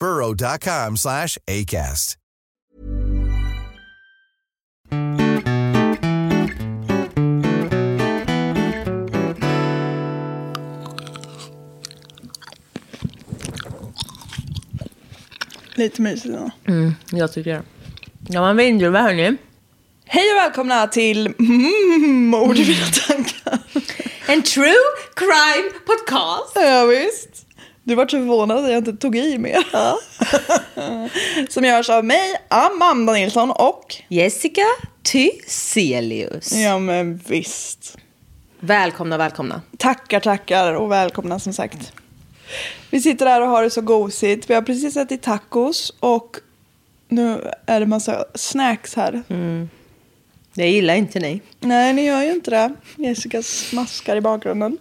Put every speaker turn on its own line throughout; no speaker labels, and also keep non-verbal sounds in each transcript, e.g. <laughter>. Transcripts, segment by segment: burrow.com slash ACAST.
Lite mysigt ändå.
Mm, jag tycker det. Ja, men vindruva hörni.
Hej och välkomna till mm, Mord i mina tankar.
En true crime podcast.
Ja, visst. Du vart så förvånad att jag inte tog i mer. <laughs> Som görs av mig, Amanda Nilsson och...
Jessica Thyselius.
Ja, men visst.
Välkomna, välkomna.
Tackar, tackar och välkomna som sagt. Vi sitter här och har det så gosigt. Vi har precis ätit tacos och nu är det massa snacks här.
Det gillar inte ni.
Nej, ni gör ju inte det. Jessica smaskar i bakgrunden.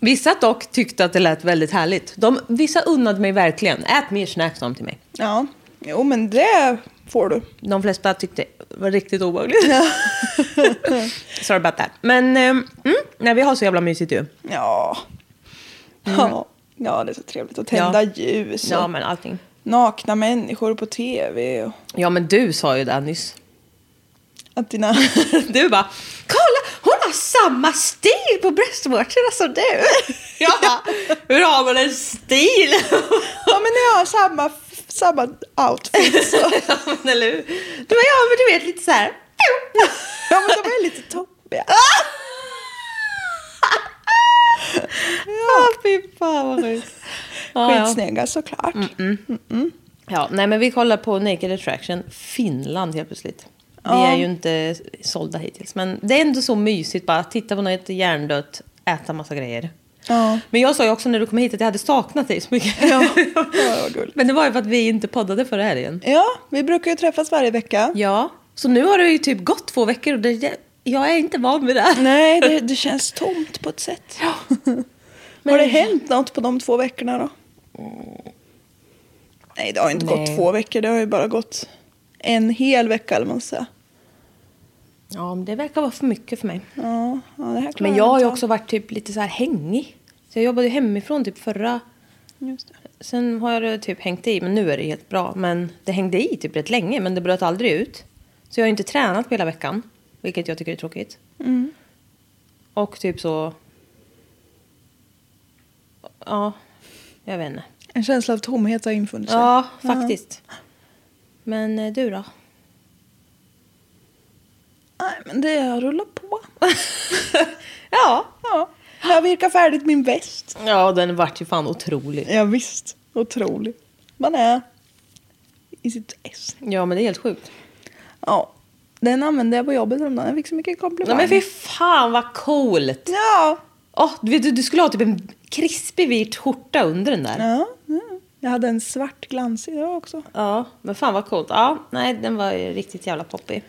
Vissa dock tyckte att det lät väldigt härligt. De, vissa unnade mig verkligen. Ät mer snacks om till mig.
Ja, jo men det får du.
De flesta tyckte det var riktigt obehagligt. <laughs> Sorry about that. Men ehm, mm, nej, vi har så jävla mysigt ju.
Ja. Ja. ja, det är så trevligt att tända
Mm. Ja.
ljus och
Ja, men allting.
nakna människor på tv. Och
Ja, men du sa ju det här nyss.
att dina...
<laughs> Du bara, kolla hon har samma stil på bröstvårtorna som <laughs> du. Jag bara, hur har man en stil? <laughs>
ja, men ni har samma, samma outfit.
<laughs>
Så.
Ja, men eller hur? Du bara, ja men du vet lite så <laughs> här.
Ja, men de är lite toppiga.
Ja, fy fan vad sjukt. Ja, Mm, ja.
Skitsnygga såklart.
ja, nej men vi kollar på Naked Attraction, Finland helt plötsligt. Vi
Ja.
är ju inte sålda hittills, men det är ändå så mysigt bara att titta på något hjärndött, äta massa grejer.
Ja.
Men jag sa ju också när du kom hit att jag hade saknat dig så mycket. <laughs>
Ja, det var gulligt.
men det var ju för att vi inte poddade förra helgen.
Ja, vi brukar ju träffas varje vecka.
Ja, så nu har det ju typ gått två veckor och det, jag är inte van vid det.
Nej, det, det känns tomt på ett sätt. <laughs> Har det hänt något på de två veckorna då? Nej, det har ju inte
Mm. Nej.
gått två veckor. Det har ju bara gått en hel vecka eller vad man säger.
Ja, men det verkar vara för mycket för mig.
Ja, ja, det här klarar
Men jag har ju
inte av.
också varit typ lite så här hängig. Så jag jobbade ju hemifrån typ förra...
Just det.
Sen har det typ hängt i, men nu är det helt bra. Men det hängde i typ rätt länge, men det bröt aldrig ut. Så jag har ju inte tränat på hela veckan, vilket jag tycker är tråkigt.
Mm.
Och typ så... Ja, jag vet inte.
En känsla av tomhet har infunnit sig.
Ja, faktiskt. Men eh, du då?
Nej, men det har rullat på.
Ja.
<laughs> Ja. Jag har virkat färdigt min väst.
Ja, den vart ju fan otrolig.
Ja, visst. Otroligt. Man är i sitt ess.
Ja, men det är helt sjukt.
Ja. Den använde jag på jobbet häromdagen. Jag fick så mycket komplimanger.
Ja, men fy fan vad coolt!
Ja.
Åh, du vet du, du skulle ha typ en krispig vit skjorta under den där.
Ja, ja. Jag hade en svart glans idag också.
Ja, men fan vad coolt. Ja, nej, den var ju riktigt jävla poppig.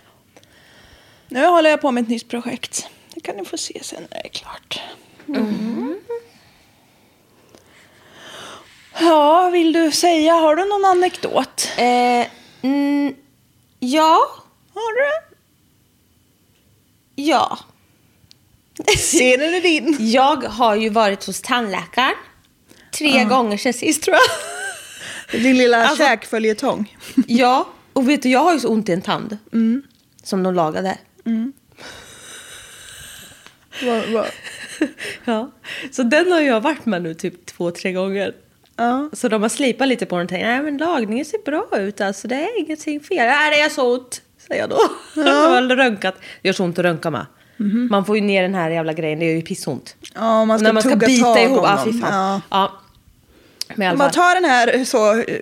Nu håller jag på med ett nytt projekt. Det kan ni få se sen när det är klart.
Mm.
Ja, vill du säga, har du någon anekdot?
Eh, Ja,
Har du?
ja.
Scenen är din.
Jag har ju varit hos tandläkaren tre gånger sen sist tror
<laughs>
jag.
Din lilla
Alltså-
käkföljetong.
Ja, och vet du, jag har ju så ont i en tand.
Mm.
Som de lagade.
Vad- vad-
Ja. Så den har jag varit med nu typ två, tre gånger.
Ja.
Så de har slipat lite på den och tänkt, nej men lagningen ser bra ut alltså, det är ingenting fel. Nej, det gör så ont, säger jag då. <laughs> De har röntgat. Det gör så ont att röntga med. Man får ju ner den här jävla grejen, det gör ju pissont.
Mhm. Ja, man ska
När man ska
tugga
bita
tag
ihop,
om
ah, fy
dem.
fan.
Ja.
Ja. Men i alla
Om man
fall.
tar den här så, eh,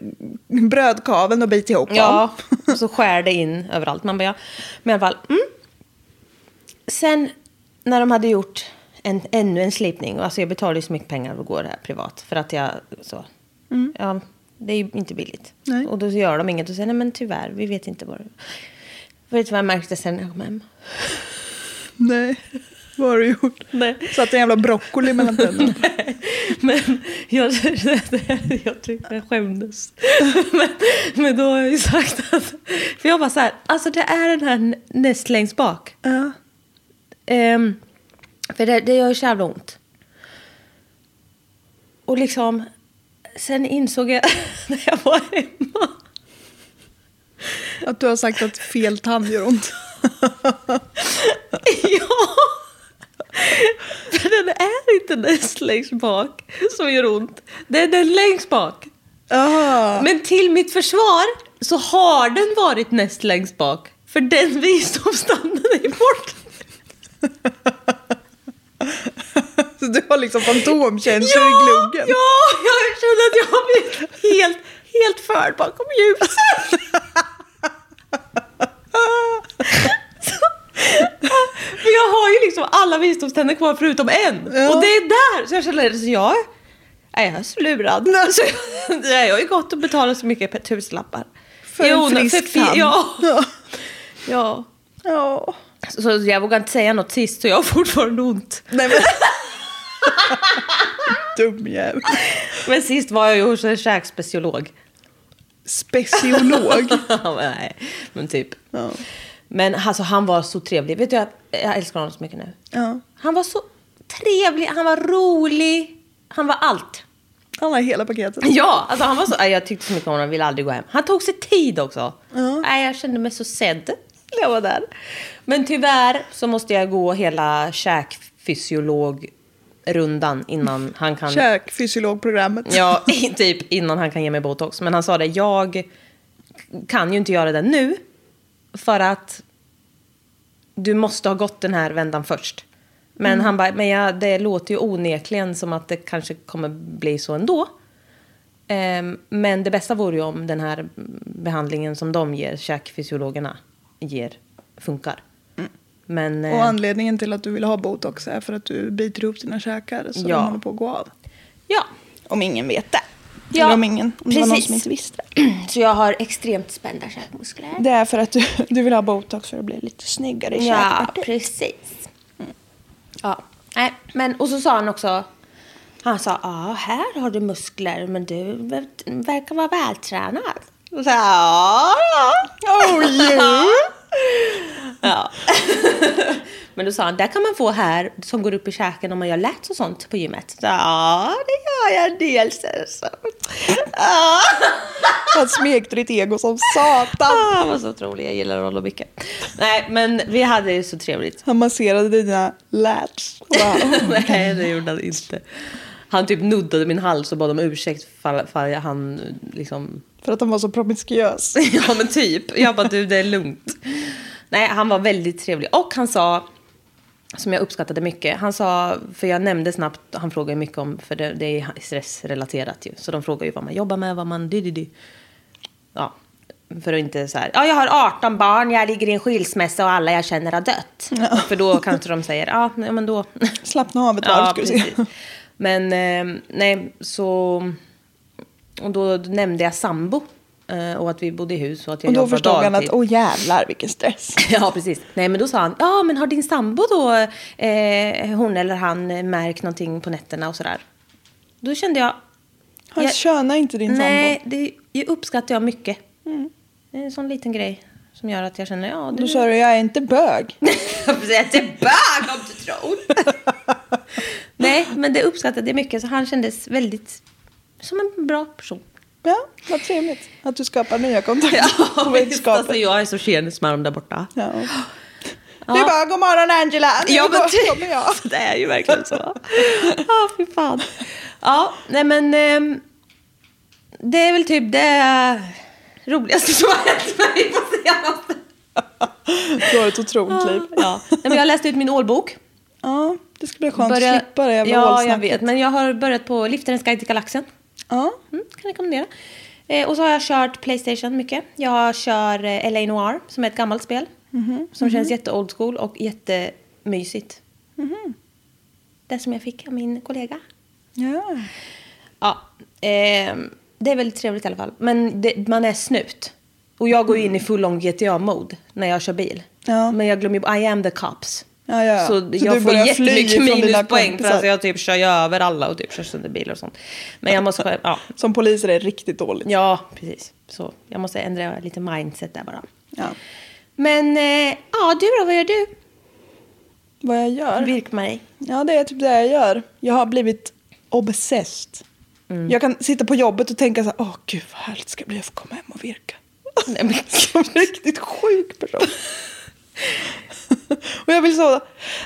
brödkaveln och biter ihop
Ja,
dem.
<laughs> och så skär det in överallt. Man bara, ja. Men i alla fall. Mm. Sen när de hade gjort en, ännu en slipning. och Alltså jag betalar ju så mycket pengar för att gå det här privat. För att jag så. Ja, det är ju inte billigt.
Nej.
Och då så gör de inget och säger nej men tyvärr, vi vet inte vad det Vet du vad jag märkte sen när jag kom hem?
Nej, vad har du gjort?
Nej.
Satt en jävla broccoli mellan tänderna.
<laughs> Men jag, <laughs> jag tyckte jag skämdes. Men, men då har jag ju sagt att... För jag bara så här, alltså det är den här nä- näst längst bak.
Ja.
Ehm, för det, det gör ju så jävla ont. Och liksom, sen insåg jag <laughs> när jag var hemma.
Att du har sagt att fel tand gör ont.
ja! För den är inte näst längst bak som gör ont. Det är den längst bak.
Ah.
Men till mitt försvar så har den varit näst längst bak. För den visdomstanden är bort.
Så du har liksom fantomkänslor i
ja,
gluggen.
ja, jag kände att jag har blivit helt, helt förd bakom ljuset. Men jag har ju liksom alla visdomständer kvar förutom en.
Ja.
Och det är där. Så jag känner att jag, nej, jag är slurad. Så jag, nej, jag har ju gått och betalat så mycket tusenlappar.
För en
I onö-
frisk
fi-
tand.
Ja.
Ja.
ja.
Ja.
Så så jag vågar inte säga något sist så jag har fortfarande ont.
Nej men. <laughs> Dum jävel.
Men sist var jag ju hos en käkspeciolog.
Speciolog.
Ja, men <laughs> nej, men typ.
Ja.
Men alltså, han var så trevlig. Vet du, jag, jag älskar honom så mycket nu.
Ja.
Han var så trevlig, han var rolig, han var allt.
Han har hela paketet.
Ja, alltså han var så, nej, jag tyckte så mycket om honom, ville aldrig gå hem. Han tog sig tid också. Nej, jag kände mig så sedd när jag var där. Men tyvärr så måste jag gå hela käkfysiologrundan innan han kan...
Käkfysiologprogrammet.
Ja, <laughs> typ innan han kan ge mig botox. Men han sa det, jag kan ju inte göra det nu. För att du måste ha gått den här vändan först. Men han bara, men ja, det låter ju onekligen som att det kanske kommer bli så ändå. Ehm, men det bästa vore ju om den här behandlingen som de ger, käkfysiologerna ger, funkar. Men,
Och
eh,
anledningen till att du vill ha botox är för att du biter ihop dina käkar så
Ja.
de håller på att gå av.
ja.
Om ingen vet det.
Ja,
Eller om ingen, om det var någon
precis.
som inte visste det.
Så jag har extremt spända käkmuskler.
Det är för att du, du vill ha botox för att bli lite snyggare i
Ja,
käkpartiet.
precis. Ja, nej, men och så sa han också. Han sa, ja, här har du muskler, men du ver- verkar vara vältränad. Och så, ja, ja. <laughs>
Oh yeah!
ja. <laughs> men då sa han, där kan man få här som går upp i käken om man gör lats och sånt på gymmet. Så, ja, det gör jag dels. Så. <laughs> Ja.
Han smekte ditt ego som satan.
Ah, <laughs> vad så otrolig, jag gillar honom mycket. Nej, men vi hade ju så trevligt.
Han masserade dina lats.
<laughs>
Wow.
Nej, det gjorde han inte. Han typ nuddade min hals och bad om ursäkt för, för jag- han liksom...
För att han var så promiskuös.
<laughs> Ja, men typ. Jag bara, du, det är lugnt. Nej, han var väldigt trevlig. Och han sa, som jag uppskattade mycket, han sa, för jag nämnde snabbt, han frågar ju mycket om, för det, det är stressrelaterat ju, så de frågar ju vad man jobbar med, vad man... Di, di, di. Ja, för att inte så här, ja, jag har 18 barn, jag ligger i en skilsmässa och alla jag känner har dött. För då kanske de säger, ja, nej, men då...
Slappna av ett varv ska du se.
precis. Men eh, nej, så... Och då nämnde jag sambo. eh, Och att vi bodde i hus och att jag
Och då
jobbade
förstod
dagtid.
han att, åh jävlar vilken stress.
<laughs> Ja, precis. Nej, men då sa han, ja, men har din sambo då, eh, hon eller han, eh, märkt någonting på nätterna och sådär? Då kände jag,
Han
Jag-
könar inte din
nej,
sambo. Mm.
det uppskattar jag mycket. Det är en sån liten grej som gör att jag känner, ja du...
Då sa du, jag är inte bög.
<laughs> Jag vill säga tillbaka om du
<laughs>
tror. Nej, men det uppskattade jag mycket. Så han kändes väldigt som en bra
<laughs>
person.
Ja, vad trevligt att du skapar nya
<laughs>
kontakter <laughs> på vänskapen.
jag är så tjenis med dem där borta.
Ja. Du bara, god morgon Angela, nu
Ja, men
går-
typ.
kommer jag.
<laughs> Det är ju verkligen så. Ja, fy fan. Ja, nej men. ehm, det är väl typ det roligaste som har hänt mig på senaste.
<laughs> Du har ett otroligt liv.
Ja, nej, men jag läste ut min ålbok.
Ja, det ska bli skönt
Börja-
att slippa det jävla
Ja, jag
ålsnacket.
vet. Men jag har börjat på Liftarens guide till galaxen.
Ja,
Mm, kan rekommendera. Eh, och så har jag kört Playstation mycket. Jag kör eh, LA Noir som är ett gammalt spel.
Mhm,
Som känns jätte old school och jättemysigt.
Mhm.
Det som jag fick av min kollega.
ja.
Ja, ehm, det är väldigt trevligt i alla fall. Men det, man är snut. Och jag går ju in i full on GTA-mode när jag kör bil.
Ja.
Men jag glömmer ju, I am the cops.
Ja, ja, ja.
Så,
Så du
jag får
börjar fly
jättemycket
ifrån dina
minuspoäng för
kompisar.
att jag typ kör ju över alla och typ kör sönder bilar och sånt. Men jag måste, ja,
Som polis är det riktigt dåligt.
ja precis. Så jag måste ändra lite mindset där bara.
Ja.
Men eh, ja, du då, vad gör du?
Vad jag gör? <laughs>
Birk-Marie.
Ja, det är typ det jag gör. Jag har blivit obsessed.
Mm.
Jag kan sitta på jobbet och tänka så här, åh gud vad härligt ska det bli att få komma hem och virka.
Nej, men
<laughs> Som en riktigt sjuk person. <laughs> och jag vill så,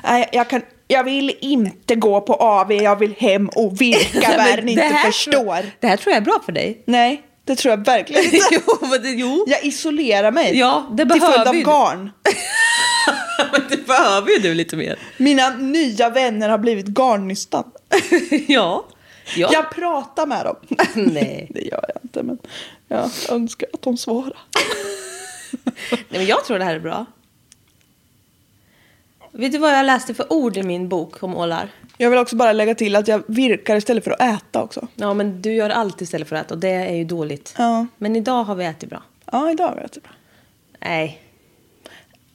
nej jag kan, jag vill inte gå på AV, jag vill hem och virka
<laughs> Nej,
världen
men
inte
det här
förstår.
tror- Det här tror jag är bra för <laughs> dig.
Nej, det tror jag verkligen inte.
<laughs> jo, men det, jo.
Jag isolerar mig.
Ja, det
Till
behöver
följd av
ju du.
garn.
Men det behöver ju du lite mer.
Mina nya vänner har blivit garnnystan.
<laughs> ja. ja.
Jag pratar med dem.
<laughs> Nej.
<laughs> Det gör jag inte, men jag önskar att de svarar.
Nej, men jag tror det här är bra. Vet du vad jag läste för ord i min bok om ålar?
Jag vill också bara lägga till att jag virkar istället för att äta också.
Ja, men du gör allt istället för att äta och det är ju dåligt.
Ja.
Men idag har vi ätit bra.
Ja, idag var jag typ.
Nej,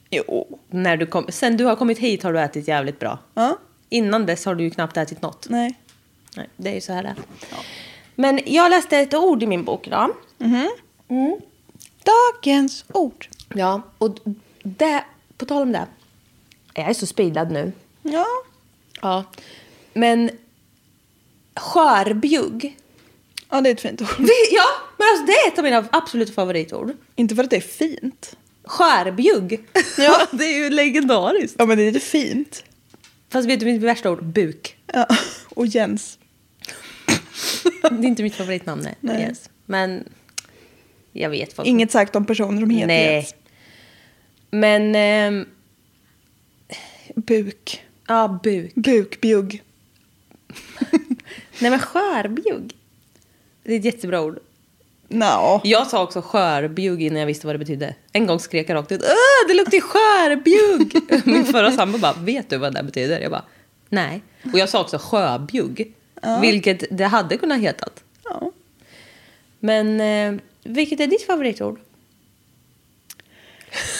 Jo.
när du kom, sen du har kommit hit har du ätit jävligt bra.
Ja,
Innan dess har du ju knappt ätit något.
nej.
Nej, det är ju så här det är. Men jag läste ett ord i min bok idag.
Dagens ord.
Ja, och det, på tal om det. Jag är så speedad nu.
Ja.
Ja. Men skörbjugg.
Ja, det är ett fint ord. <laughs>
Vi- Ja, men alltså det är ett av mina absoluta favoritord.
Inte för att det är fint.
Skörbjugg. Ja, <laughs> det är ju legendariskt.
Ja, men det är lite fint.
Fast vet du mitt värsta ord? Buk.
Ja. Och Jens.
Det är inte mitt favoritnamn, nej.
Nej.
Yes. Men jag vet folk.
Inget sagt om personer som heter
Nej.
Jens.
Men, ehm,
Buk.
ja, buk.
Bukbjugg.
Nej men skörbjugg. Det är ett jättebra ord.
Nå.
Jag sa också skörbjugg innan jag visste vad det betydde. En gång skrek jag rakt ut Åh, det luktar ju skörbjugg! <laughs> Min förra sambo bara, vet du vad det betyder? Jag bara, nej. Och jag sa också sjöbjugg, vilket det hade kunnat hetat.
Ja.
Men eh, vilket är ditt favoritord?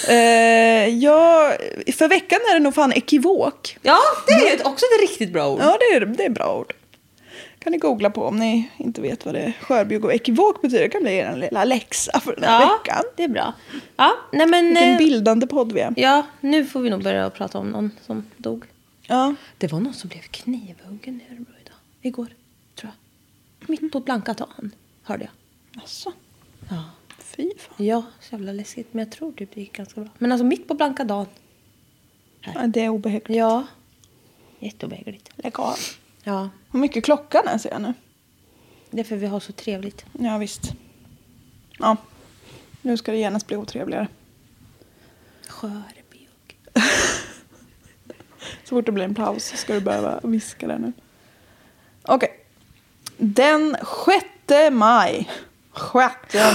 Eh, ja, för veckan är det nog fan ekivok.
Ja, det är ju ett- också ett riktigt bra ord.
Ja, det är, det är bra ord. kan ni googla på om ni inte vet vad det skörbjugg och ekivok betyder. Det kan bli er lilla läxa för den här veckan.
det är bra. Ja, nej men...
Vilken
eh,
bildande podd vi är.
Ja, nu får vi nog börja prata om någon som dog.
Ja.
Det var någon som blev knivhuggen i Örebro idag. Igår, tror jag. Mitt på blanka dagen, hörde jag.
Alltså,
Ja.
fy fan.
ja, så jävla läskigt. Men jag tror typ det gick ganska bra. Men alltså mitt på blanka dagen.
Ja, det är obehagligt.
Ja. Jätteobehagligt.
Lägg av.
Ja,
Hur mycket klockan är ser jag nu.
det är för vi har så trevligt.
Ja, visst. Ja. Nu ska det genast bli otrevligare.
Skörbjugg.
Så fort det blir en paus så ska du behöva viska det nu. Okej. Den 6 maj. 6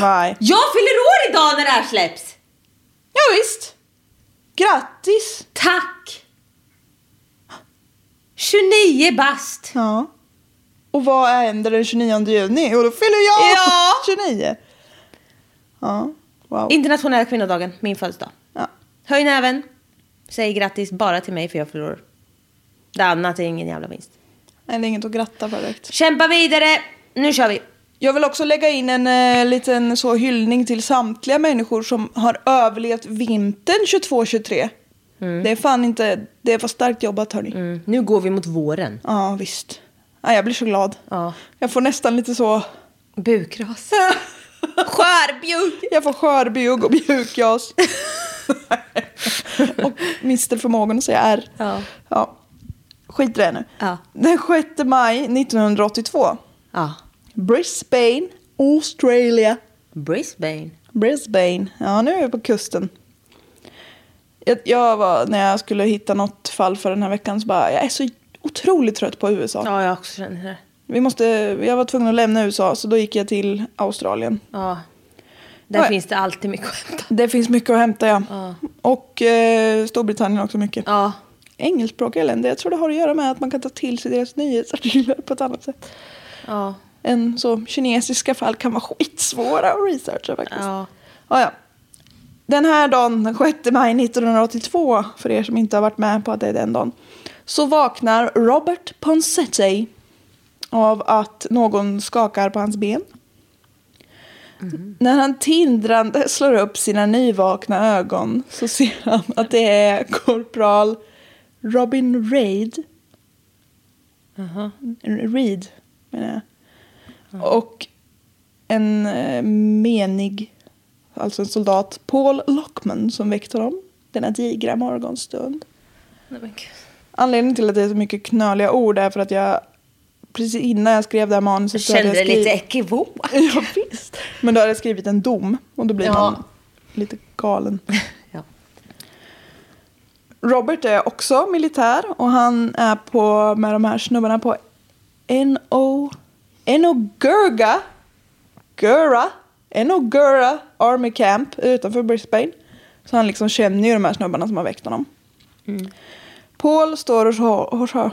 maj.
Jag fyller år idag när det här släpps!
Ja, visst. Grattis!
Tack! 29 bast!
Ja. Och vad händer den 29 juni? Jo, då fyller jag
Ja.
29. Ja, wow.
Internationella kvinnodagen, min födelsedag.
Ja.
Höj näven. Säg grattis bara till mig för jag förlorar. Det annat är ingen jävla vinst.
Nej, det är inget att gratta för direkt.
Kämpa vidare! Nu kör vi!
Jag vill också lägga in en eh, liten så hyllning till samtliga människor som har överlevt vintern 22-23. Det är fan inte, det var starkt jobbat hörni.
Mm. Nu går vi mot våren.
Ja visst. Ja, jag blir så glad.
Ja.
Jag får nästan lite så,
<laughs> Bukras. Skörbjugg!
jag får skörbjugg och
<laughs>
mjukjas. och mister förmågan att säga R.
Ja.
Ja. Skit i det nu.
Ja.
Den 6 maj 1982.
Ja.
Brisbane, Australia.
Brisbane.
Brisbane. Ja, nu är vi på kusten. Jag, jag var, när jag skulle hitta något fall för den här veckan så bara, jag är så otroligt trött på USA.
Ja, jag också känner det.
Vi måste, jag var tvungen att lämna USA så då gick jag till Australien.
Ja. Där
Ja, ja.
finns det alltid mycket att hämta.
Det finns mycket att hämta ja. Och eh, Storbritannien också mycket.
Ja.
Engelskspråkiga länder, jag tror det har att göra med att man kan ta till sig deras nyhetsartiklar på ett annat sätt.
Ja.
än så kinesiska fall kan vara <laughs> skitsvåra att researcha faktiskt.
Ja.
Ja, ja. Den här dagen, den 6 maj 1982, för er som inte har varit med på att det är den dagen, så vaknar Robert Ponsetti av att någon skakar på hans ben.
Mhm.
När han tindrande slår upp sina nyvakna ögon så ser han att det är korpral Robin Reid. Reed, menar jag. Och en eh, menig, alltså en soldat, Paul Lockman som väckte honom denna digra morgonstund.
Nej, men gud.
Anledningen till att det är så mycket knöliga ord är för att jag precis innan jag skrev det här manuset
Jag
så hade
kände det
jag skrivit,
lite
<laughs>
ekivokt.
Ja, visst. Men då hade jag skrivit en dom och då blir
Ja.
man lite galen.
<laughs> Ja.
Robert är också militär och han är på, med de här snubbarna på NO... E NOGURGA Gura NOGURA E Army Camp utanför Brisbane. Så han liksom känner ju de här snubbarna som har väckt honom. Paul står och, så, och, så,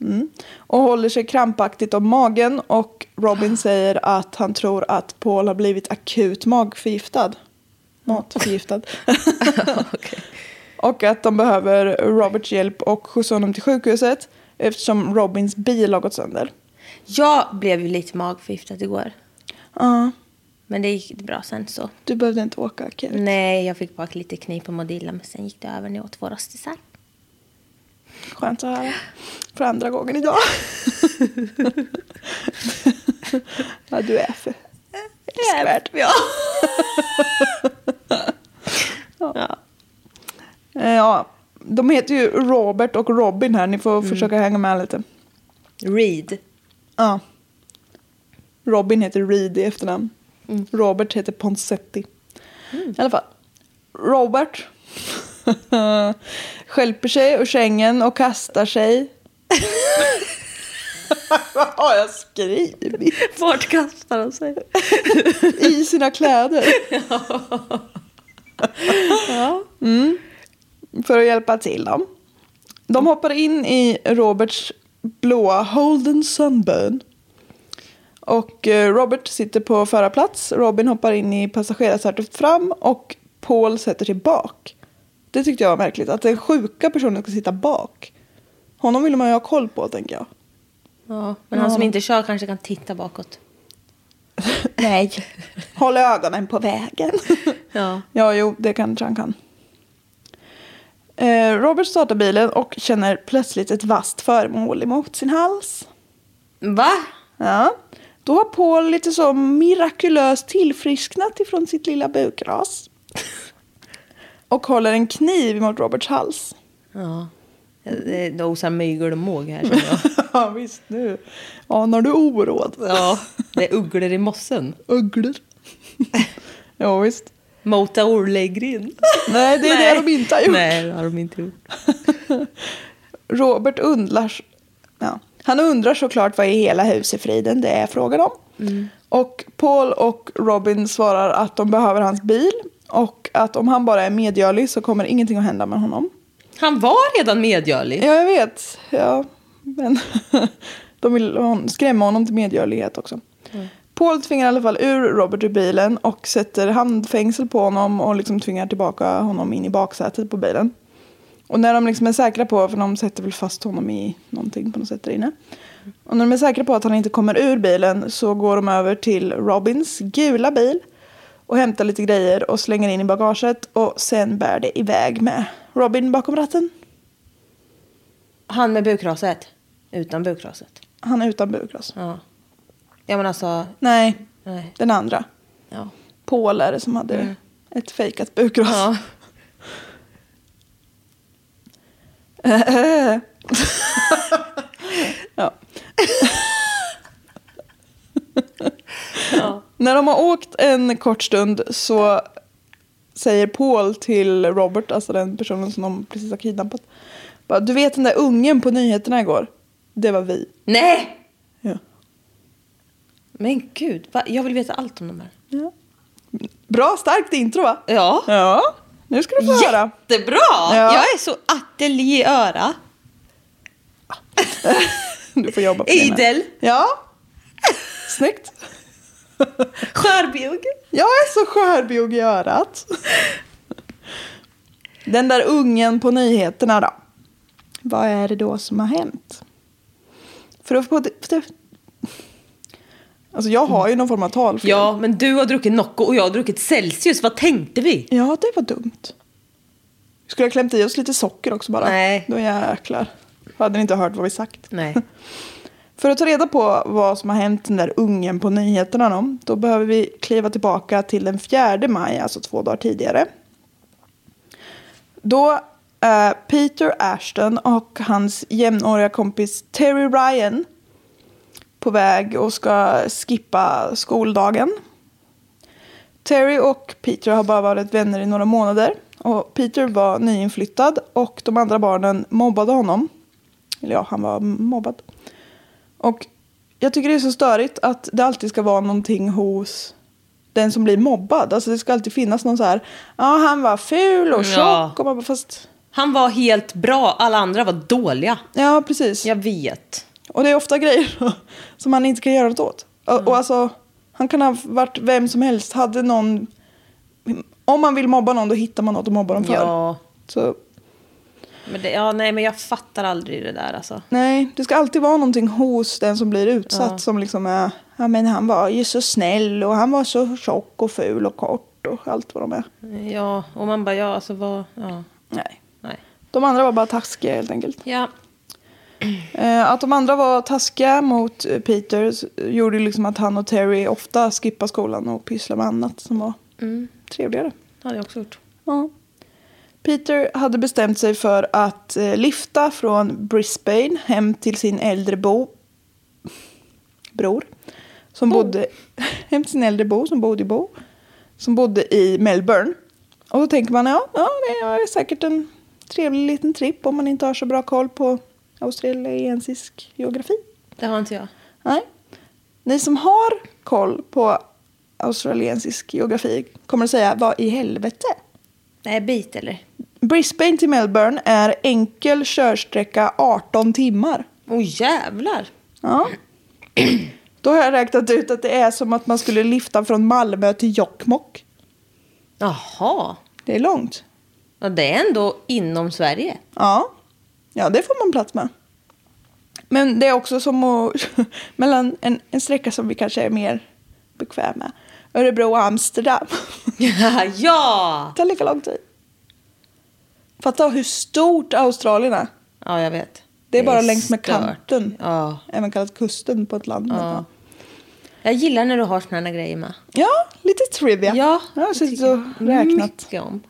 mm, och håller sig krampaktigt om magen och Robin säger att han tror att Paul har blivit akut magförgiftad. Matförgiftad. Och att de behöver Roberts hjälp och skjutsa honom till sjukhuset eftersom Robins bil har gått sönder.
Jag blev ju lite magförgiftad igår.
Ja,
Men det gick bra sen så.
du behövde inte åka, Kevin.
Nej, jag fick bara lite knipa på Modilla men sen gick det över när jag åt vår rostisar.
Skönt att höra. För andra gången idag. ja, du är för älskvärd. <laughs>
Ja.
Eh, Ja, de heter ju Robert och Robin här. Ni får försöka hänga med lite.
Reed.
Ja. Robin heter Reed i efternamn. Robert heter Ponsetti. I alla fall. Robert <laughs> skälper sig ur sängen och kastar sig. Vad har jag skrivit?
Vart kastar de sig?
<laughs> I sina kläder. Mm. För att hjälpa till dem. De hoppar in i Roberts blåa Holden Sunburn. Och eh, Robert sitter på förarplats. Robin hoppar in i passagerarsätet fram och Paul sätter sig bak. Det tyckte jag var märkligt. Att den sjuka personen ska sitta bak. Honom vill man ju ha koll på, tänker jag.
Ja, men han som inte kör kanske kan titta bakåt. <laughs> Nej.
Håll ögonen på vägen.
<laughs> Ja.
ja, jo, det kanske han kan. Eh, Robert startar bilen och känner plötsligt ett vasst föremål emot sin hals.
Va?
Ja. Då har Paul lite så mirakulöst tillfrisknat ifrån sitt lilla bukras. Och håller en kniv mot Roberts hals.
Ja. Det det Eh, osar mygel och måg här känner jag.
<laughs> ja, visst nu. Anar du oråd?
Ja, det är ugglor i mossen.
Ugglor. <laughs> jo, visst.
Mota orrläggrin.
Nej, det är det de inte har gjort.
Nej, det har de inte gjort.
<laughs> Robert undrar, ja, han undrar såklart vad i hela huset friden det är frågan om. Och Paul och Robin svarar att de behöver hans bil och att om han bara är medgörlig så kommer ingenting att hända med honom.
Han var redan medgörlig.
Ja, jag vet. Ja, men <laughs> de vill hon, skrämma honom till medgörlighet också. Paul tvingar i alla fall ur Robert ur bilen och sätter handfängsel på honom och liksom tvingar tillbaka honom in i baksätet på bilen. Och när de liksom är säkra på, för de sätter väl fast honom i någonting på något sätt där inne. Och när de är säkra på att han inte kommer ur bilen så går de över till Robins gula bil och hämtar lite grejer och slänger in i bagaget och sen bär det iväg med Robin bakom ratten.
Han med bukraset. Utan bukraset.
Han är utan bukross.
Ja. Ja men alltså.
Nej,
Nej.
den andra.
Ja.
Paul är det som hade ett fejkat bukross.
Ja.
<laughs>
<laughs>
Ja. När de har åkt en kort stund så säger Paul till Robert, alltså den personen som de precis har kidnappat. Bara, du vet den där ungen på nyheterna igår? Det var vi.
Nej!
Ja.
Men gud. Va? Jag vill veta allt om de här.
Bra starkt intro va?
Ja.
Ja, nu ska du få höra.
Jättebra!
Ja.
Jag är så ateljéöra.
Du får jobba på det.
Idel. <laughs>
Ja. Snyggt.
Skörbjugg.
Jag är så skörbjugg i örat. Den där ungen på nyheterna då. Vad är det då som har hänt? För att få... För att- Alltså jag har ju någon form av talfel.
Ja, men du har druckit Nocco och jag har druckit Celsius. Vad tänkte vi?
Ja, det var dumt. Skulle jag klämt i oss lite socker också bara?
Nej.
Då jäklar. Hade ni inte hört vad vi sagt.
Nej.
För att ta reda på vad som har hänt den där ungen på nyheterna då, då behöver vi kliva tillbaka till den 4 maj, alltså två dagar tidigare. Då eh, Peter Ashton och hans jämnåriga kompis Terry Ryan på väg och ska skippa skoldagen. Terry och Peter har bara varit vänner i några månader och Peter var nyinflyttad och de andra barnen mobbade honom. Eller ja, han var mobbad. Och jag tycker det är så störigt att det alltid ska vara någonting hos den som blir mobbad. Alltså det ska alltid finnas någon så här, ja han var ful och tjock
Ja.
och man bara, fast
Han var helt bra, alla andra var dåliga.
Ja, precis.
Jag vet.
Och det är ofta grejer <laughs> som han inte kan göra något åt. Och, och alltså, han kan ha varit vem som helst. Hade någon... Om man vill mobba någon, då hittar man något att mobba dem för.
Ja.
Så
Men det, ja, nej, men jag fattar aldrig det där alltså.
nej, det ska alltid vara någonting hos den som blir utsatt som liksom är... Ja, men han var ju så snäll och han var så tjock och ful och kort och allt vad de är.
Mm. Ja, och man bara, ja alltså vad, ja,
Nej.
nej.
De andra var bara taskiga helt enkelt.
Ja,
Eh, Att de andra var taskiga mot eh, Peter s- gjorde ju liksom att han och Terry ofta skippade skolan och pysslade med annat som var trevligare.
det hade jag också gjort.
Ja. Peter hade bestämt sig för att eh, lyfta från Brisbane hem till sin äldre bo... Bror. Som bodde... <laughs> Hem till sin äldre bo som bodde i bo. Som bodde i Melbourne. Och då tänker man, ja, ja det är säkert en trevlig liten tripp om man inte har så bra koll på australiensisk geografi.
Det har inte jag.
Nej. Ni som har koll på australiensisk geografi kommer att säga, vad i helvete?
Nej, bit eller?
Brisbane till Melbourne är enkel körsträcka 18 timmar.
Åh jävlar!
Ja. Då har jag räknat ut att det är som att man skulle lyfta från Malmö till Jokkmokk.
Jaha,
Det är långt.
ja, det är ändå inom Sverige.
Ja. ja, det får man plats med. Men det är också som att <laughs> mellan en, en sträcka som vi kanske är mer bekväma med. Örebro och Amsterdam.
<laughs>
<laughs>
ja!
Det tar lika lång tid. Fatta hur stort Australien är.
Ja, jag vet.
Det är bara längs med
stört.
kanten.
Ja.
Även kallat kusten på ett land. men ja.
Jag gillar när du har såna här grejer med.
Ja, lite trivia. jag har
det
suttit
tycker jag
och räknat.
Mycket om.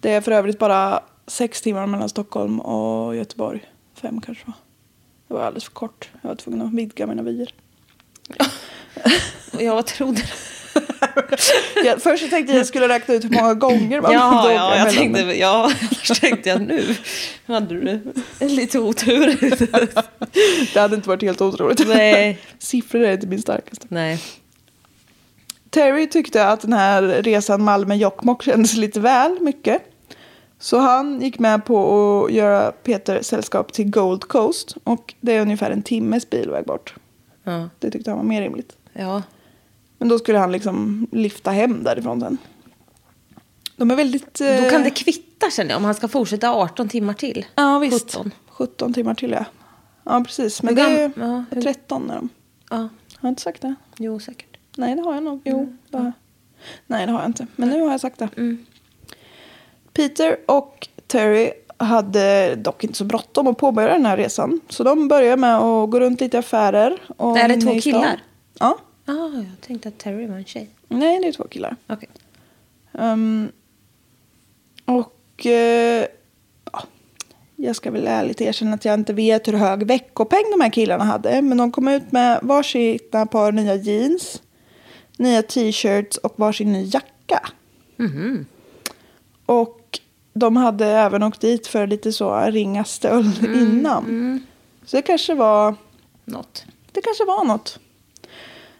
Det är för övrigt bara sex timmar mellan Stockholm och Göteborg. Fem kanske va? Det var alldeles för kort. Jag var tvungen att vidga mina vyer.
Och jag vad trodde
Jag, först så tänkte jag att jag skulle räkna ut hur många gånger man <laughs> behövde
<laughs> Ja,
åka
ja, jag
mellan
tänkte,
dem.
ja, <laughs> annars tänkte jag nu hade du lite otur.
Det hade inte varit helt otroligt.
<laughs> Nej.
<laughs> Siffror är inte min starkaste.
Nej.
Terry tyckte att den här resan Malmö-Jokkmokk kändes lite väl mycket. Så han gick med på att göra Peter sällskap till Gold Coast. Och det är ungefär en timmes bilväg bort.
Ja.
Det tyckte han var mer rimligt.
ja.
Men då skulle han liksom lyfta hem därifrån sen. De är väldigt... eh,
Då kan det kvitta känner jag om han ska fortsätta 18 timmar till.
Ja, visst.
17.
17. timmar till, ja. Ja, precis. Men
Hur
det är
gam- ja, hur-
13 är de.
Ja,
Har jag inte sagt det?
jo säkert.
Nej, det har jag nog. Jo,
Mm.
det har jag. Nej, det har jag inte. Men nu har jag sagt det. Peter och Terry hade dock inte så bråttom att påbörja den här resan. Så de börjar med att gå runt lite i affärer. Och
Är det
inne
två
i stan.
killar?
Ja.
Ja, Ah, jag tänkte att Terry var en tjej.
Nej, det är två killar.
Okej.
Ehm, och eh, ja, jag ska väl ärligt erkänna att jag inte vet hur hög veckopeng de här killarna hade. Men de kom ut med varsina par nya jeans, nya t-shirts och varsin ny jacka. Och de hade även åkt dit för lite så ringa stöld innan. Så det kanske var,
Något.
det kanske var något.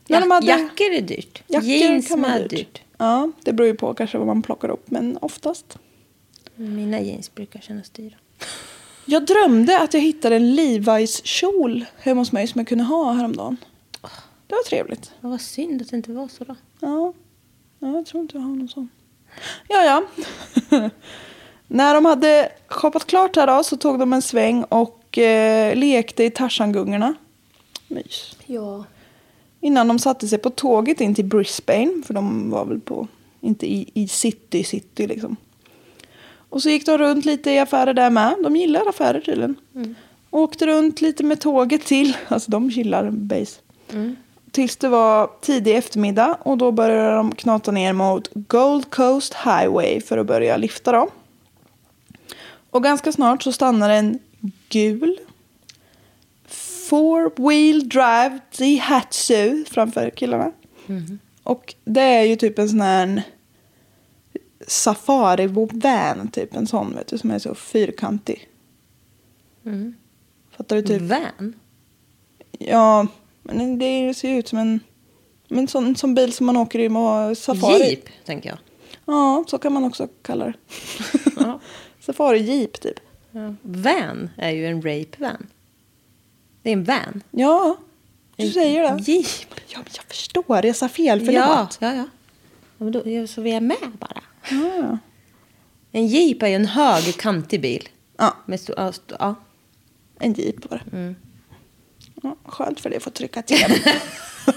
När
Ja,
de hade-
Jackor är dyrt.
Jackor
Jeans
kan vara
är
dyrt.
dyrt.
Ja, det beror ju på kanske vad man plockar upp, men oftast.
Mina jeans brukar kännas dyra.
Jag drömde att jag hittade en Levi's-kjol hemma hos mig som jag kunde ha häromdagen. Det var trevligt.
Ja, vad synd att det inte var så då.
Ja, ja jag tror inte jag har någon sån. Ja, ja. <laughs> När de hade shoppat klart här då så tog de en sväng och eh, lekte i Tarzangungorna. Mys.
Ja.
Innan de satte sig på tåget in till Brisbane, för de var väl på, inte i, i city, city liksom. Och så gick de runt lite i affärer där med. De gillar affärer tydligen. Åkte runt lite med tåget till, <laughs> alltså de gillar base. Tills det var tidig eftermiddag och då började de knata ner mot Gold Coast Highway för att börja lifta dem. Och ganska snart så stannar en gul four wheel drive Daihatsu framför killarna. Och det är ju typ en sån här safari-van, typ en sån vet du, som är så fyrkantig. Fattar du? Typ
Van?
Ja, men det ser ju ut som en, men en sån, sån bil som man åker i med safari.
Jeep, tänker jag.
Ja, så kan man också kalla det. <laughs>
Ja.
Safari-jeep typ.
Van är ju en rape van. Det är en van.
Ja, du säger det.
Jeep.
Ja, men jag förstår, jag sa fel, förlåt.
Ja, ja, ja. Ja, men då, ja, så vi är med bara.
Ja.
En jeep är ju en hög, kantig bil.
Ja.
Med stor, ja, st- ja.
En jeep var det.
Mm.
Ja, skönt för dig att få trycka till. <laughs>
ja,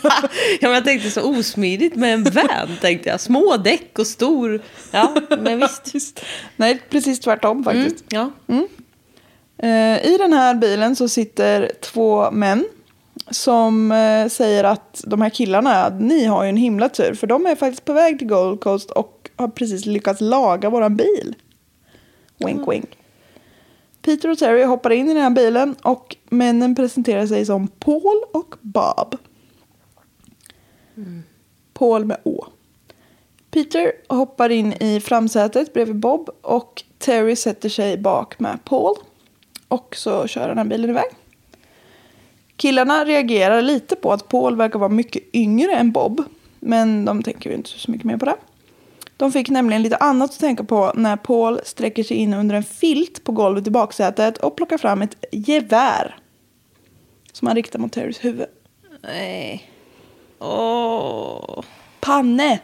men jag tänkte så osmidigt med <laughs> en van, tänkte jag. Små däck och stor. Ja, men <laughs> visst.
Nej, precis tvärtom faktiskt.
Mm, ja.
Eh, I den här bilen så sitter två män som eh, säger att de här killarna, ni har ju en himla tur för de är faktiskt på väg till Gold Coast och har precis lyckats laga våran bil. Wink wink. Peter och Terry hoppar in i den här bilen och männen presenterar sig som Paul och Bob. Paul med Å. Peter hoppar in i framsätet bredvid Bob och Terry sätter sig bak med Paul. Och så kör den här bilen iväg. Killarna reagerar lite på att Paul verkar vara mycket yngre än Bob. Men de tänker ju inte så mycket mer på det. De fick nämligen lite annat att tänka på när Paul sträcker sig in under en filt på golvet i baksätet och plockar fram ett gevär. Som han riktar mot Terrys huvud.
Nej. Åh.
Panne!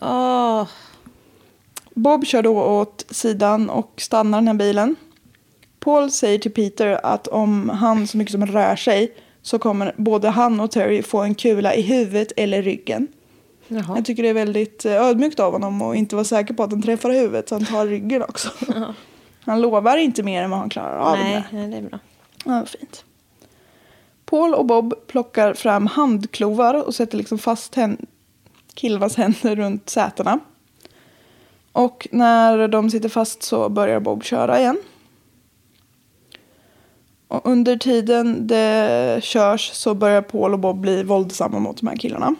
Åh.
Bob kör då åt sidan och stannar den här bilen. Paul säger till Peter att om han så mycket som rör sig så kommer både han och Terry få en kula i huvudet eller ryggen.
Jaha.
Jag tycker det är väldigt eh, ödmjukt av honom att inte vara säker på att den träffar huvudet så han tar ryggen också. Han lovar inte mer än vad han klarar av. med.
Nej, nej, det är bra.
Ja, vad fint. Paul och Bob plockar fram handklovar och sätter liksom fast hän- killarnas händer runt sätena. Och när de sitter fast så börjar Bob köra igen. Och under tiden det körs så börjar Paul och Bob bli våldsamma mot de här killarna.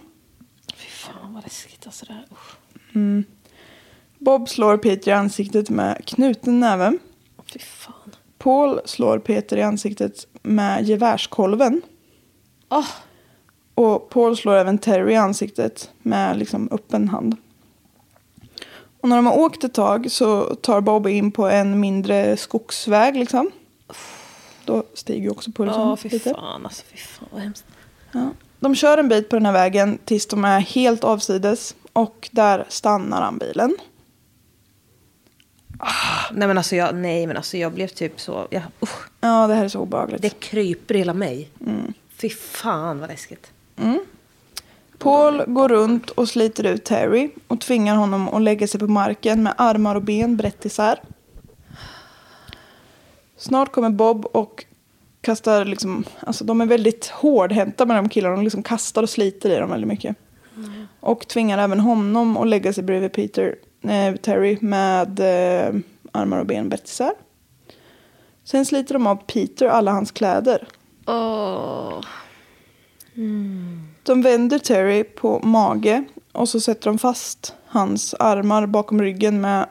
Fy fan vad läskigt alltså det här. Usch.
Bob slår Peter i ansiktet med knuten näve.
Fy fan.
Paul slår Peter i ansiktet med gevärskolven.
Åh.
Och Paul slår även Terry i ansiktet med liksom öppen hand. Och när de har åkt ett tag så tar Bob in på en mindre skogsväg liksom. Då stiger ju också pulsen
Ja, fy
lite.
fan alltså. Fy fan vad hemskt.
Ja. De kör en bit på den här vägen tills de är helt avsides och där stannar han bilen.
Nej men alltså jag, nej, men alltså jag blev typ så, jag, usch,
Ja, det här är så obehagligt.
det kryper i hela mig. Fy fan vad läskigt.
Paul går runt och sliter ut Terry och tvingar honom att lägga sig på marken med armar och ben brett isär. Snart kommer Bob och kastar liksom, alltså de är väldigt hårdhänta med de killarna, de liksom kastar och sliter i dem väldigt mycket. Och tvingar även honom att lägga sig bredvid Peter, eh, Terry med eh, armar och ben brett isär. Sen sliter de av Peter alla hans kläder. De vänder Terry på mage och så sätter de fast hans armar bakom ryggen med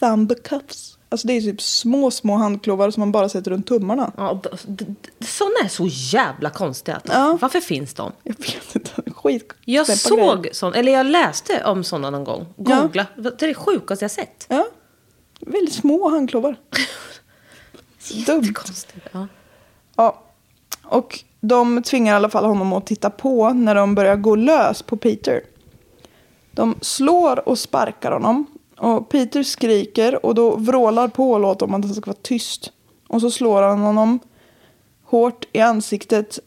thumb-cuffs. Alltså det är typ små, små handklovar som man bara sätter runt tummarna.
Ja, och d- d- d- sådana är så jävla konstiga. att-
Ja.
Varför finns de?
Jag vet inte, skit.
Jag
knäppa
såg
grejer.
sån, eller jag läste om sådana någon gång.
Ja.
Googla. Det är det sjukaste jag sett.
Ja. Väldigt små
<laughs>
handklovar. Dumt.
Konstigt. Ja.
Ja. Och de tvingar i alla fall honom att titta på när de börjar gå lös på Peter. De slår och sparkar honom. Och Peter skriker och då vrålar Paul åt honom att han ska vara tyst. Och så slår han honom hårt i ansiktet.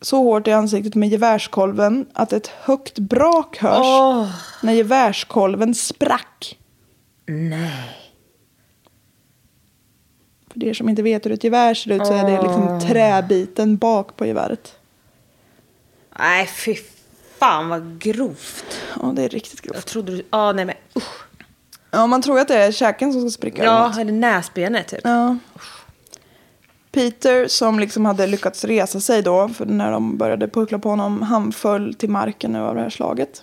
Så hårt i ansiktet med gevärskolven att ett högt brak hörs när gevärskolven sprack. För er som inte vet hur ett gevär ser ut så är det liksom träbiten bak på geväret.
Nej, fy fan vad grovt.
Ja, det är riktigt
Jag
grovt.
trodde du... Ja, nej men usch.
Ja, man tror ju att det är käken som ska spricka. eller något.
Ja, eller näsbenet typ.
Ja. Peter som liksom hade lyckats resa sig då, för när de började puckla på honom, han föll till marken nu av det här slaget.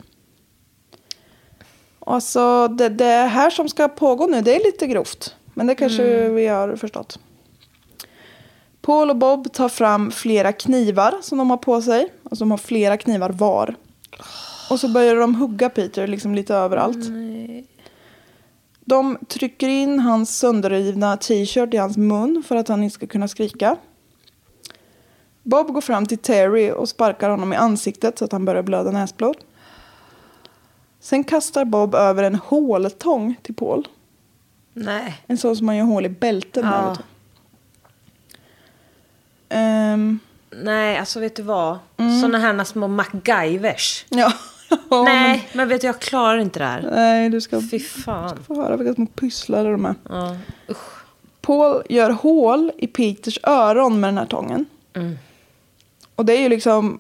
Alltså det, det här som ska pågå nu, det är lite grovt. Men det kanske vi har förstått. Paul och Bob tar fram flera knivar som de har på sig. Alltså de har flera knivar var. Och så börjar de hugga Peter liksom lite överallt. De trycker in hans sönderrivna t-shirt i hans mun för att han inte ska kunna skrika. Bob går fram till Terry och sparkar honom i ansiktet så att han börjar blöda näsblod. Sen kastar Bob över en håltång till Paul.
Nej.
En sån som man gör hål i bälten med.
Ja.
vet du. Ehm,
Nej, alltså vet du vad? Såna här små MacGyvers.
ja. Mm. <laughs> Ja, men-
nej, men vet du, jag klarar inte det här.
Nej, du ska
Fy fan.
få höra vilka små pysslare de är.
Ja, usch.
Paul gör hål i Peters öron med den här tången.
Mm.
Och det är ju liksom...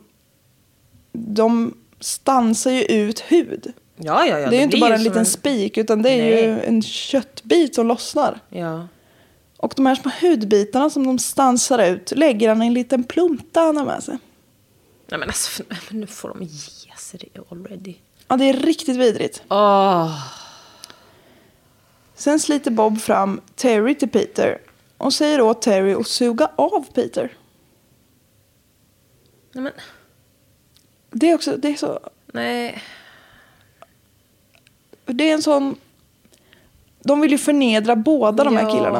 De stansar ju ut hud.
Ja, ja, ja.
det är ju inte
blir
bara en
som
liten spik utan det är ju en köttbit som lossnar.
Ja.
Och de här små hudbitarna som de stansar ut lägger han i en liten plunta han har med sig.
Nej, men alltså, <laughs> nej, men nu får de ge sig det already.
Ja, det är riktigt vidrigt.
Åh.
Sen sliter Bob fram Terry till Peter och säger åt Terry att suga av Peter.
Nej, men...
Det är också, det är så
Nej.
Det är en sån... De vill ju förnedra båda de här
Ja.
killarna.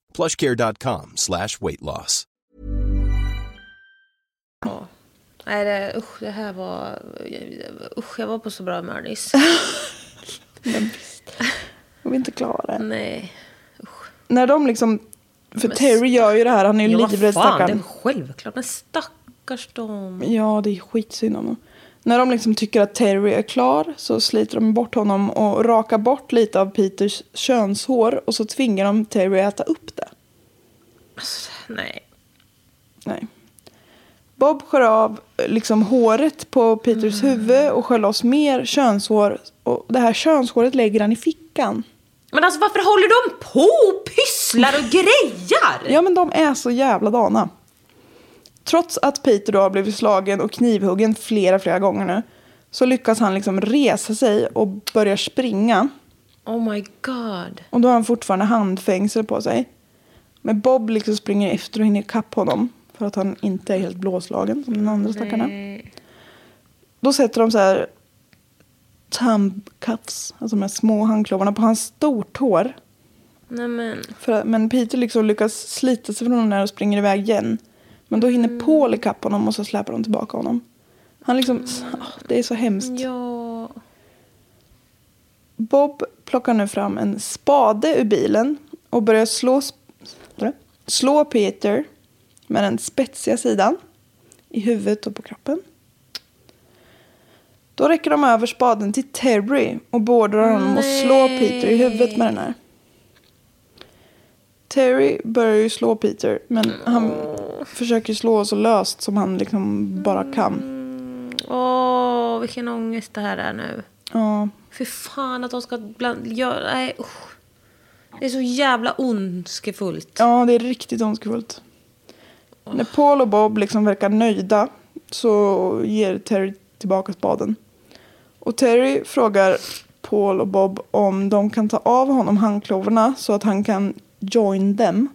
plushcare.com slash weight loss.
Nej, det, usch, det här var... Usch, jag var på så bra humör nyss.
Men visst. Vi är inte klara än.
Nej.
När de liksom... För
Mm. Men
Terry gör ju det här, han är ju
Ja,
livrädd
vad fan, det är
stackarn.
självklart. Men stackars dem.
Ja, det är skitsynd om honom. När de liksom tycker att Terry är klar så sliter de bort honom och rakar bort lite av Peters könshår och så tvingar de Terry att äta upp det.
Nej.
Nej. Bob skär av eh, liksom håret på Peters
Mm.
huvud och skär loss mer könshår. Och det här könshåret lägger han i fickan.
Men alltså varför håller de på och pysslar och grejar?
Ja men de är så jävla dana. Trots att Peter då har blivit slagen och knivhuggen flera, flera gånger nu. Så lyckas han liksom resa sig och börjar springa.
Oh my god.
Och då har han fortfarande handfängsel på sig. Men Bob liksom springer efter och hinner ikapp honom. För att han inte är helt blåslagen som den andra stackaren. Då sätter de så här thumb cuffs, alltså de här små handklovarna på hans stortår.
Nej men.
För, att- men Peter liksom lyckas slita sig från den där och springer iväg igen. Men då hinner Paul ikapp honom och så släpar de tillbaka honom. Han liksom, ah, det är så hemskt.
Ja.
Bob plockar nu fram en spade ur bilen och börjar slå, sp- slå Peter med den spetsiga sidan i huvudet och på kroppen. Då räcker de över spaden till Terry och beordrar honom att slå Peter i huvudet med den här. Terry börjar ju slå Peter men han försöker slå så löst som han liksom bara kan.
Åh, vilken ångest det här är nu.
Ja,
För fan att de ska bland... göra... Nej, usch. Det är så jävla ondskefullt.
Ja, det är riktigt ondskefullt. När Paul och Bob liksom verkar nöjda så ger Terry tillbaka spaden. Och Terry frågar Paul och Bob om de kan ta av honom handklovarna så att han kan join them.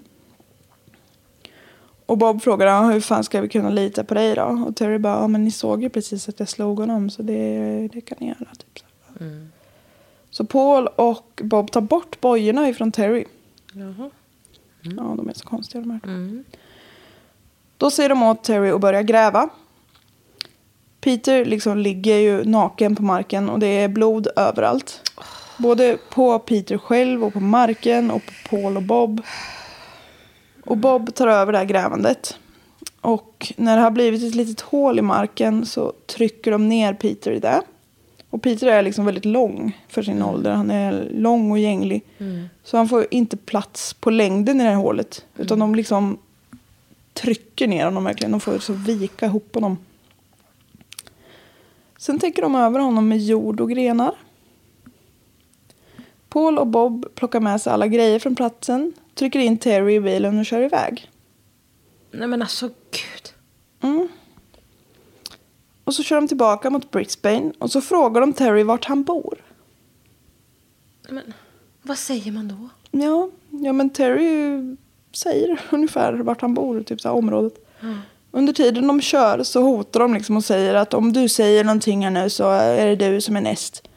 Och Bob frågar "Ja, hur fan ska vi kunna lita på dig då? Och Terry bara, ja men ni såg ju precis att jag slog honom så det, det kan ni göra. Typ. så här. Så Paul och Bob tar bort bojorna ifrån Terry. Ja, de är så konstiga de här. Då säger de åt Terry att börja gräva. Peter liksom ligger ju naken på marken och det är blod överallt. Både på Peter själv och på marken och på Paul och Bob. Och Bob tar över det här grävandet. Och när det har blivit ett litet hål i marken så trycker de ner Peter i det. Och Peter är liksom väldigt lång för sin ålder. Han är lång och gänglig. Så han får ju inte plats på längden i det här hålet. Utan de liksom trycker ner honom verkligen. De får så vika ihop honom. Sen täcker de över honom med jord och grenar. Paul och Bob plockar med sig alla grejer från platsen, trycker in Terry i bilen och kör iväg.
Nej men alltså gud.
Mm. Och så kör de tillbaka mot Brisbane och så frågar de Terry vart han bor.
Nej, men, vad säger man då?
Ja, ja men Terry säger <laughs> ungefär vart han bor, typ så här området. Under tiden de kör så hotar de liksom och säger att om du säger någonting här nu så är det du som är näst.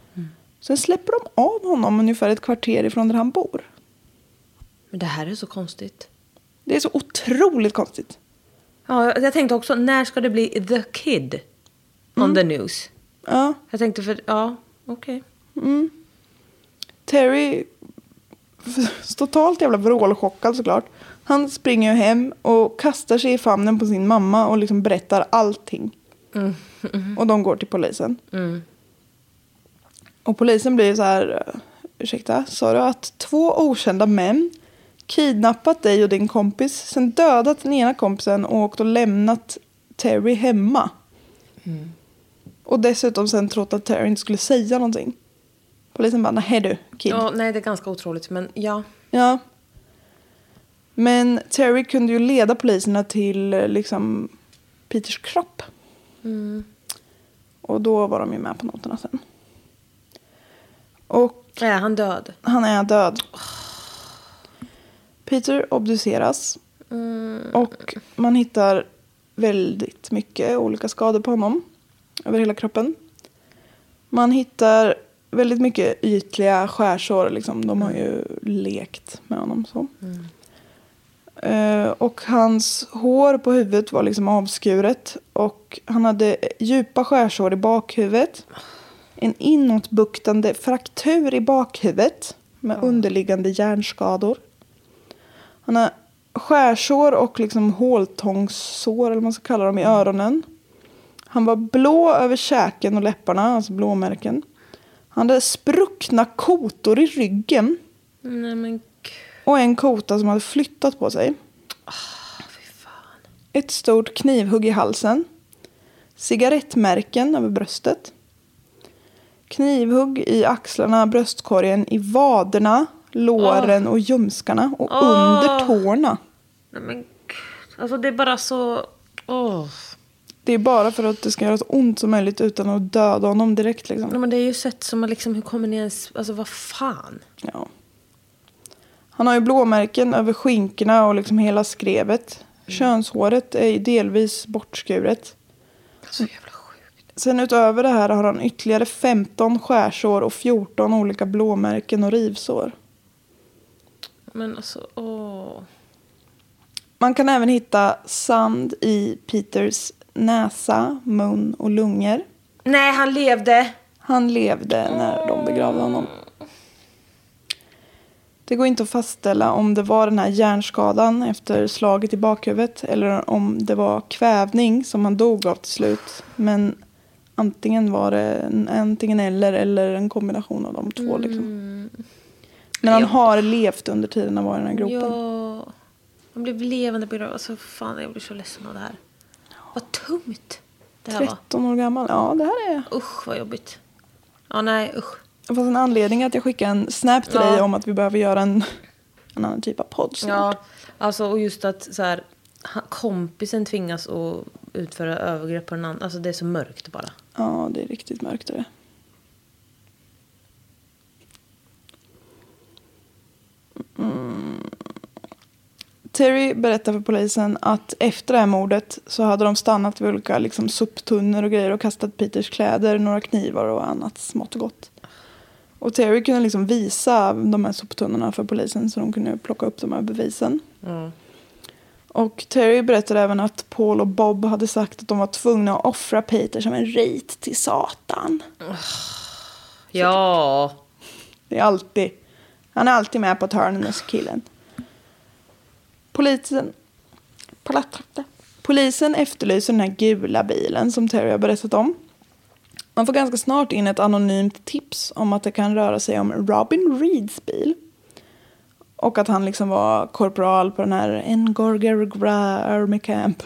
Sen släpper de av honom ungefär ett kvarter ifrån där han bor.
Men det här är så konstigt.
Det är så otroligt konstigt.
Ja, jag- jag tänkte också, när ska det bli the kid on the news?
Ja.
Jag tänkte för, ja, okej.
Terry f- totalt jävla vrålchockad såklart. Han springer ju hem och kastar sig i famnen på sin mamma och liksom berättar allting. Och de går till polisen. Och polisen blir så här, eh, ursäkta, sa du att två okända män kidnappat dig och din kompis, sen dödat den ena kompisen och åkt och lämnat Terry hemma. Och dessutom sen trott att Terry inte skulle säga någonting. Polisen bara, nej du, kid.
Ja, nej, det är ganska otroligt, men ja.
Ja. Men Terry kunde ju leda poliserna till eh, liksom Peters kropp. Och då var de ju med på noterna sen. Och
Är han död?
han är död. Peter obduceras. Och man hittar väldigt mycket olika skador på honom. Över hela kroppen. Man hittar väldigt mycket ytliga skärsår. Liksom. De har ju lekt med honom. så. Eh, och hans hår på huvudet var liksom avskuret. Och han hade djupa skärsår i bakhuvudet. en inåtbuktande fraktur i bakhuvudet med underliggande hjärnskador. Han har skärsår och liksom håltångssår, eller vad man ska kalla dem, i öronen. Han var blå över käken och läpparna, alltså blåmärken. Han hade spruckna kotor i ryggen
Nej men
och en kota som hade flyttat på sig. Ett stort knivhugg i halsen. Cigarettmärken över bröstet. Knivhugg i axlarna, bröstkorgen, i vaderna, låren och ljumskarna och under tårna.
Nej men Alltså det är bara så... Åh.
Det är bara för att det ska göra så ont som möjligt utan att döda honom direkt. Liksom.
Nej, men det är ju sätt som man liksom, hur kommer ni ens... Alltså vad fan?
Ja. Han har ju blåmärken över skinkorna och liksom hela skrevet. Könshåret är ju delvis bortskuret.
Så jävla sjukt.
Sen utöver det här har han ytterligare 15 skärsår och 14 olika blåmärken och rivsår.
Men alltså åh.
Man kan även hitta sand i Peters näsa, mun och lungor.
Nej han levde!
Han levde när de begravde honom. Det går inte att fastställa om det var den här hjärnskadan efter slaget i bakhuvudet eller om det var kvävning som han dog av till slut. Men antingen var det en, antingen eller eller en kombination av de två. Liksom. Men han
Mm. Ja.
har levt under tiden han var i den här gropen.
Ja. Han blev levande begravd. Alltså fan jag blir så ledsen av det här. Vad tungt det här
13 år gammal. Ja, det här är...
var. Usch vad jobbigt. Ja nej usch.
Det fanns en anledning att jag skickade en snap till
Ja.
dig om att vi behöver göra en, en annan typ av podd snart.
Ja, alltså och just att så här, ha- kompisen tvingas att utföra övergrepp på den andra. Alltså det är så mörkt bara.
Ja, det är riktigt mörkt är det. Mm. Terry berättar för polisen att efter det här mordet så hade de stannat vid olika liksom, soptunnor och grejer och kastat Peters kläder, några knivar och annat smått och gott. Och Terry kunde liksom visa de här soptunnorna för polisen så de kunde plocka upp de här bevisen. Och Terry berättade även att Paul och Bob hade sagt att de var tvungna att offra Peter som en rit till Satan.
Ja.
Det är alltid, han är alltid med på ett hörn den där killen. Polisen, Polatratte. polisen efterlyser den här gula bilen som Terry har berättat om. Man får ganska snart in ett anonymt tips om att det kan röra sig om Robin Reeds bil. Och att han liksom var korpral på den här Ngorgergra Army Camp.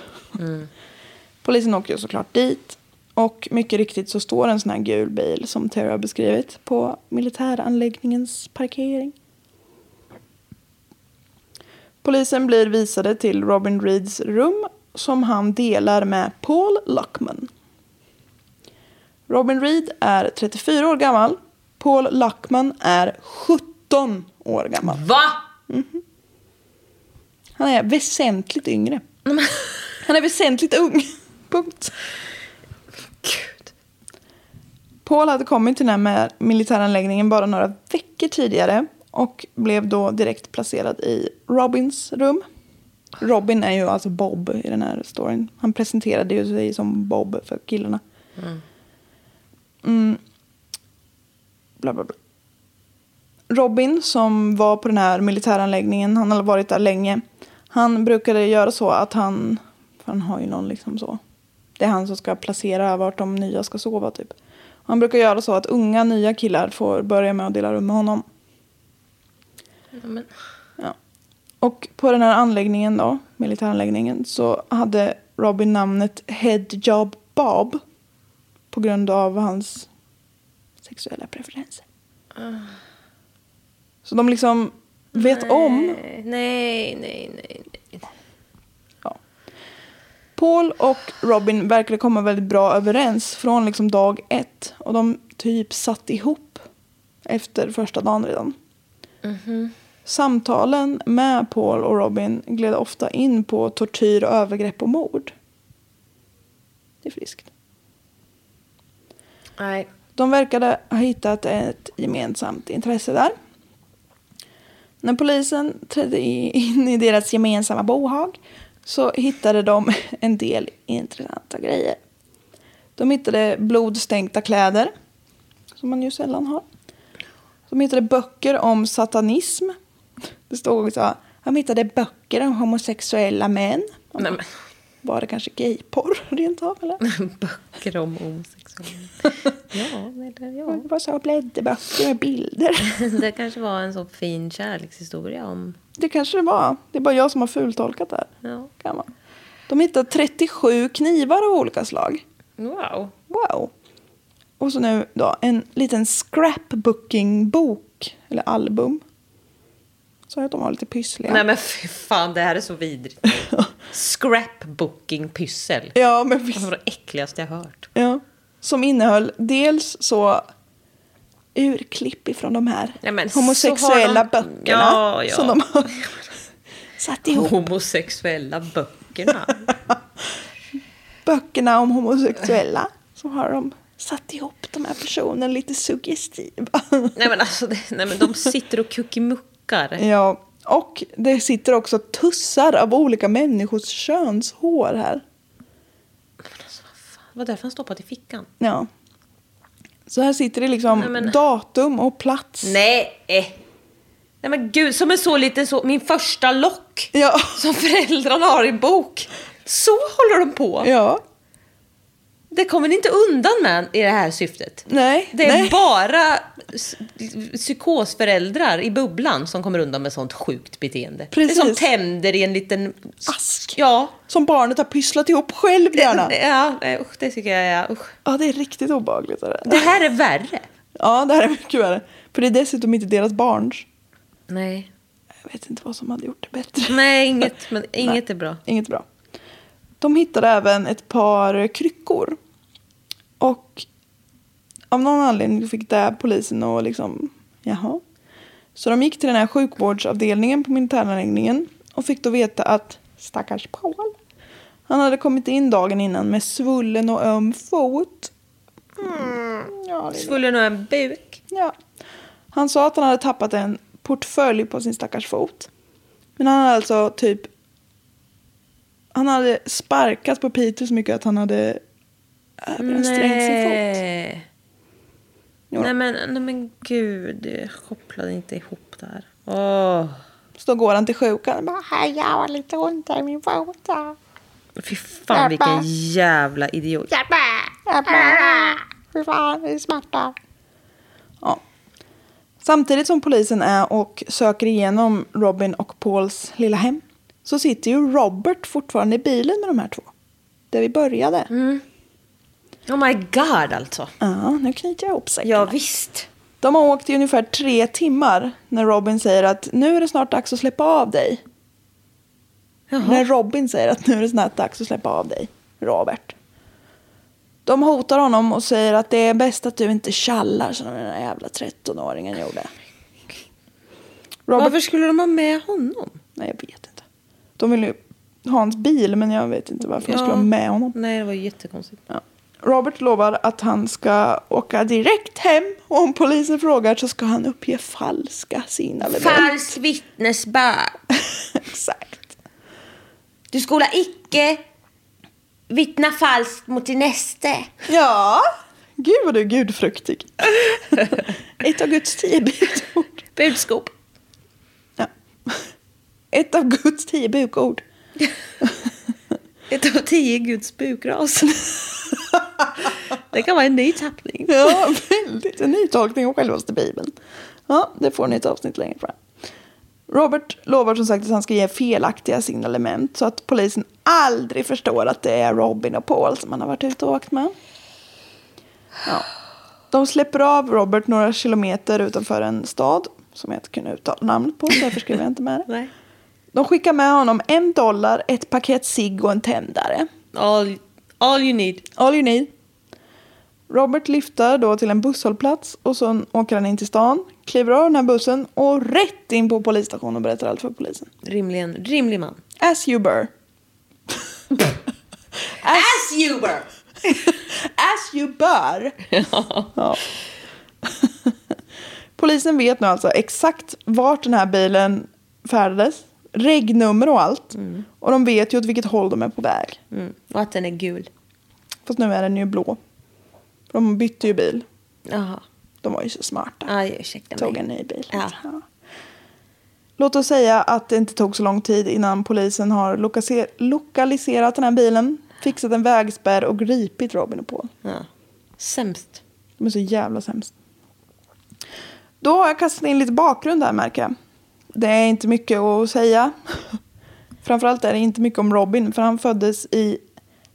Polisen åker ju såklart dit. Och mycket riktigt så står en sån här gul bil som Terry har beskrivit på militäranläggningens parkering. Polisen blir visade till Robin Reeds rum som han delar med Paul Luckman. Robin Reed är 34 år gammal. Paul Luckman är 17 år gammal. Mhm.
Va?
Han är väsentligt yngre. Han är väsentligt ung. <laughs> Punkt.
Gud.
Paul hade kommit till den här militäranläggningen bara några veckor tidigare och blev då direkt placerad i Robins rum. Robin är ju alltså Bob i den här storyn. Han presenterade ju sig som Bob för killarna. Mm. Bla, bla, bla. Robin som var på den här militäranläggningen, han hade varit där länge. Han brukade göra så att han, för han har ju någon liksom så. Det är han som ska placera vart de nya ska sova typ. Han brukar göra så att unga nya killar får börja med att dela rum med honom.
typ- Men,
Ja. Och på den här anläggningen då, militäranläggningen, så hade Robin namnet Headjob Bob. På grund av hans sexuella preferenser. Så de liksom vet om
nej, eh, nej, nej, nej. nej.
Ja. Paul och Robin verkade komma väldigt bra överens från liksom dag ett. Och de typ satt ihop efter första dagen redan. Samtalen med Paul och Robin gled ofta in på tortyr, övergrepp och mord. Det är friskt.
Nej. <laughs>
De verkade ha hittat ett gemensamt intresse där. När polisen trädde i- in i deras gemensamma bohag så hittade de en del intressanta grejer. De hittade blodstänkta kläder, som man ju sällan har. De hittade böcker om satanism. Det stod också, han hittade böcker om homosexuella män.
Nej, men.
Var det kanske gayporr rent av? Eller?
Böcker om homosexuella. <laughs> ja, eller ja.
Det var så här blädderböcker med bilder.
<laughs> Det kanske var en så fin kärlekshistoria om...
Det kanske det var. Det är bara jag som har fultolkat det här.
Ja.
Kan man. De hittade 37 knivar av olika slag.
Wow.
Wow. Och så nu då, en liten scrapbooking-bok, eller album. Så att de var lite pyssliga.
Nej men fy fan, det här är så <laughs> vidrigt. Scrapbooking-pyssel.
Ja, men visst.
Det var det äckligaste jag hört.
Ja. Som innehöll dels så urklipp ifrån de här
Ja, men så
homosexuella
har de-
böckerna.
Ja, ja.
Som de
<laughs>
har satt ihop.
Homosexuella böckerna.
Böckerna om homosexuella. Så har de satt ihop de här personerna lite suggestiva.
nej men alltså, det, nej, men de sitter och kuckimuckar.
ja. Och det sitter också tussar av olika människors könshår här.
Fan, Vad därför han stoppat i fickan?
Ja. Så här sitter det liksom
Nej, men-
datum och plats.
Nej! eh. Nej men gud, som en så liten så, min första lock.
Ja.
Som föräldrarna har i bok. Så håller de på.
Ja.
Det kommer ni inte undan med i det här syftet.
Nej.
Det är
Nej.
bara s- psykosföräldrar i bubblan som kommer undan med sånt sjukt beteende.
Precis.
Det är som tänder i en liten...
Ask.
Ja.
Som barnet har pysslat ihop själv gärna.
Det, ja, nej, usch, det tycker jag är... Usch.
Ja, det är riktigt obehagligt. Är
Det
det.
här är värre.
Ja, det här är mycket värre. För det är dessutom inte deras barns.
Nej.
Jag vet inte vad som hade gjort det bättre.
Nej,
<laughs>
inget, men, inget är bra.
Inget bra. De hittade även ett par kryckor. Och av någon anledning fick det polisen och liksom, jaha. Så de gick till den här sjukvårdsavdelningen på militäranläggningen och fick då veta att stackars Paul, han hade kommit in dagen innan med svullen och öm fot. Mm. Ja, det är
Skulle nog en buk.
Ja. Han sa att han hade tappat en portfölj på sin stackars fot. Men han hade alltså typ... Han hade sparkat på Peter så mycket att han hade överansträngt sin fot.
Nej.
Jo.
Nej men, nej men gud, jag kopplade inte ihop det här. Åh.
Så då går han till sjukan och bara Hej, jag har lite ont i min fot. ja."
Fy fan vilken jävla idiot.
Jag bara, Fy fan, det är smärta. Ja. Samtidigt som polisen är och söker igenom Robin och Pauls lilla hem så sitter ju Robert fortfarande i bilen med de här två. Där vi började.
Oh my god alltså.
Ja, nu knyter jag ihop säcken.
Ja visst.
De har åkt i ungefär tre timmar när Robin säger att nu är det snart dags att släppa av dig. När Robin säger att nu är det snart dags att släppa av dig, Robert. De hotar honom och säger att det är bäst att du inte tjallar som den där jävla 13-åringen gjorde. Robert...
Varför skulle de ha med honom?
Nej, jag vet inte. De vill ju ha hans bil, men jag vet inte varför de skulle ha med honom.
Nej det var ju jättekonstigt.
Ja. Robert lovar att han ska åka direkt hem och om polisen frågar så ska han uppge falska signalement.
Falskt vittnesbörd.
Exakt.
Du skola icke vittna falskt mot din näste.
Ja, gud vad du är gudfruktig. Ett av Guds tio bukord.
Budskap.
Ja. Ett av Guds tio bukord.
Ett av tio Guds bukras. det kan vara en ny tappning. <laughs>
Ja, väldigt. En ny tolkning av självaste Bibeln. Ja, det får ni ett avsnitt längre fram. Robert lovar som sagt att han ska ge felaktiga signalement så att polisen aldrig förstår att det är Robin och Paul som han har varit ute och åkt med. Ja. De släpper av Robert några kilometer utanför en stad som jag inte kunde uttala namnet på, därför skrev jag inte med det.
Nej.
De skickar med honom en dollar, ett paket cigg och en tändare.
All, all you need.
All you need. Robert lyfter då till en busshållplats och sen åker han in till stan, kliver av den här bussen och rätt in på polisstationen och berättar allt för polisen.
Rimligen, rimlig man.
As you bur.
<laughs> As you were.
<laughs> As you bör. Ja. <laughs> Polisen vet nu alltså exakt vart den här bilen färdades, regnummer och allt. Och de vet ju åt vilket håll de är på väg.
Mm. Och att den är gul.
Fast nu är den ju blå. De bytte ju bil.
Jaha.
De var ju så smarta.
Aj, ursäkta mig.
Tog en ny bil.
Ja.
Ja. Låt oss säga att det inte tog så lång tid innan polisen har lokase- lokaliserat den här bilen, fixat en vägspärr och gripit Robin och Paul.
Ja. Sämst.
De är så jävla sämst. Då har jag kastat in lite bakgrund här märker jag. Det är inte mycket att säga. <laughs> Framförallt är det inte mycket om Robin för han föddes i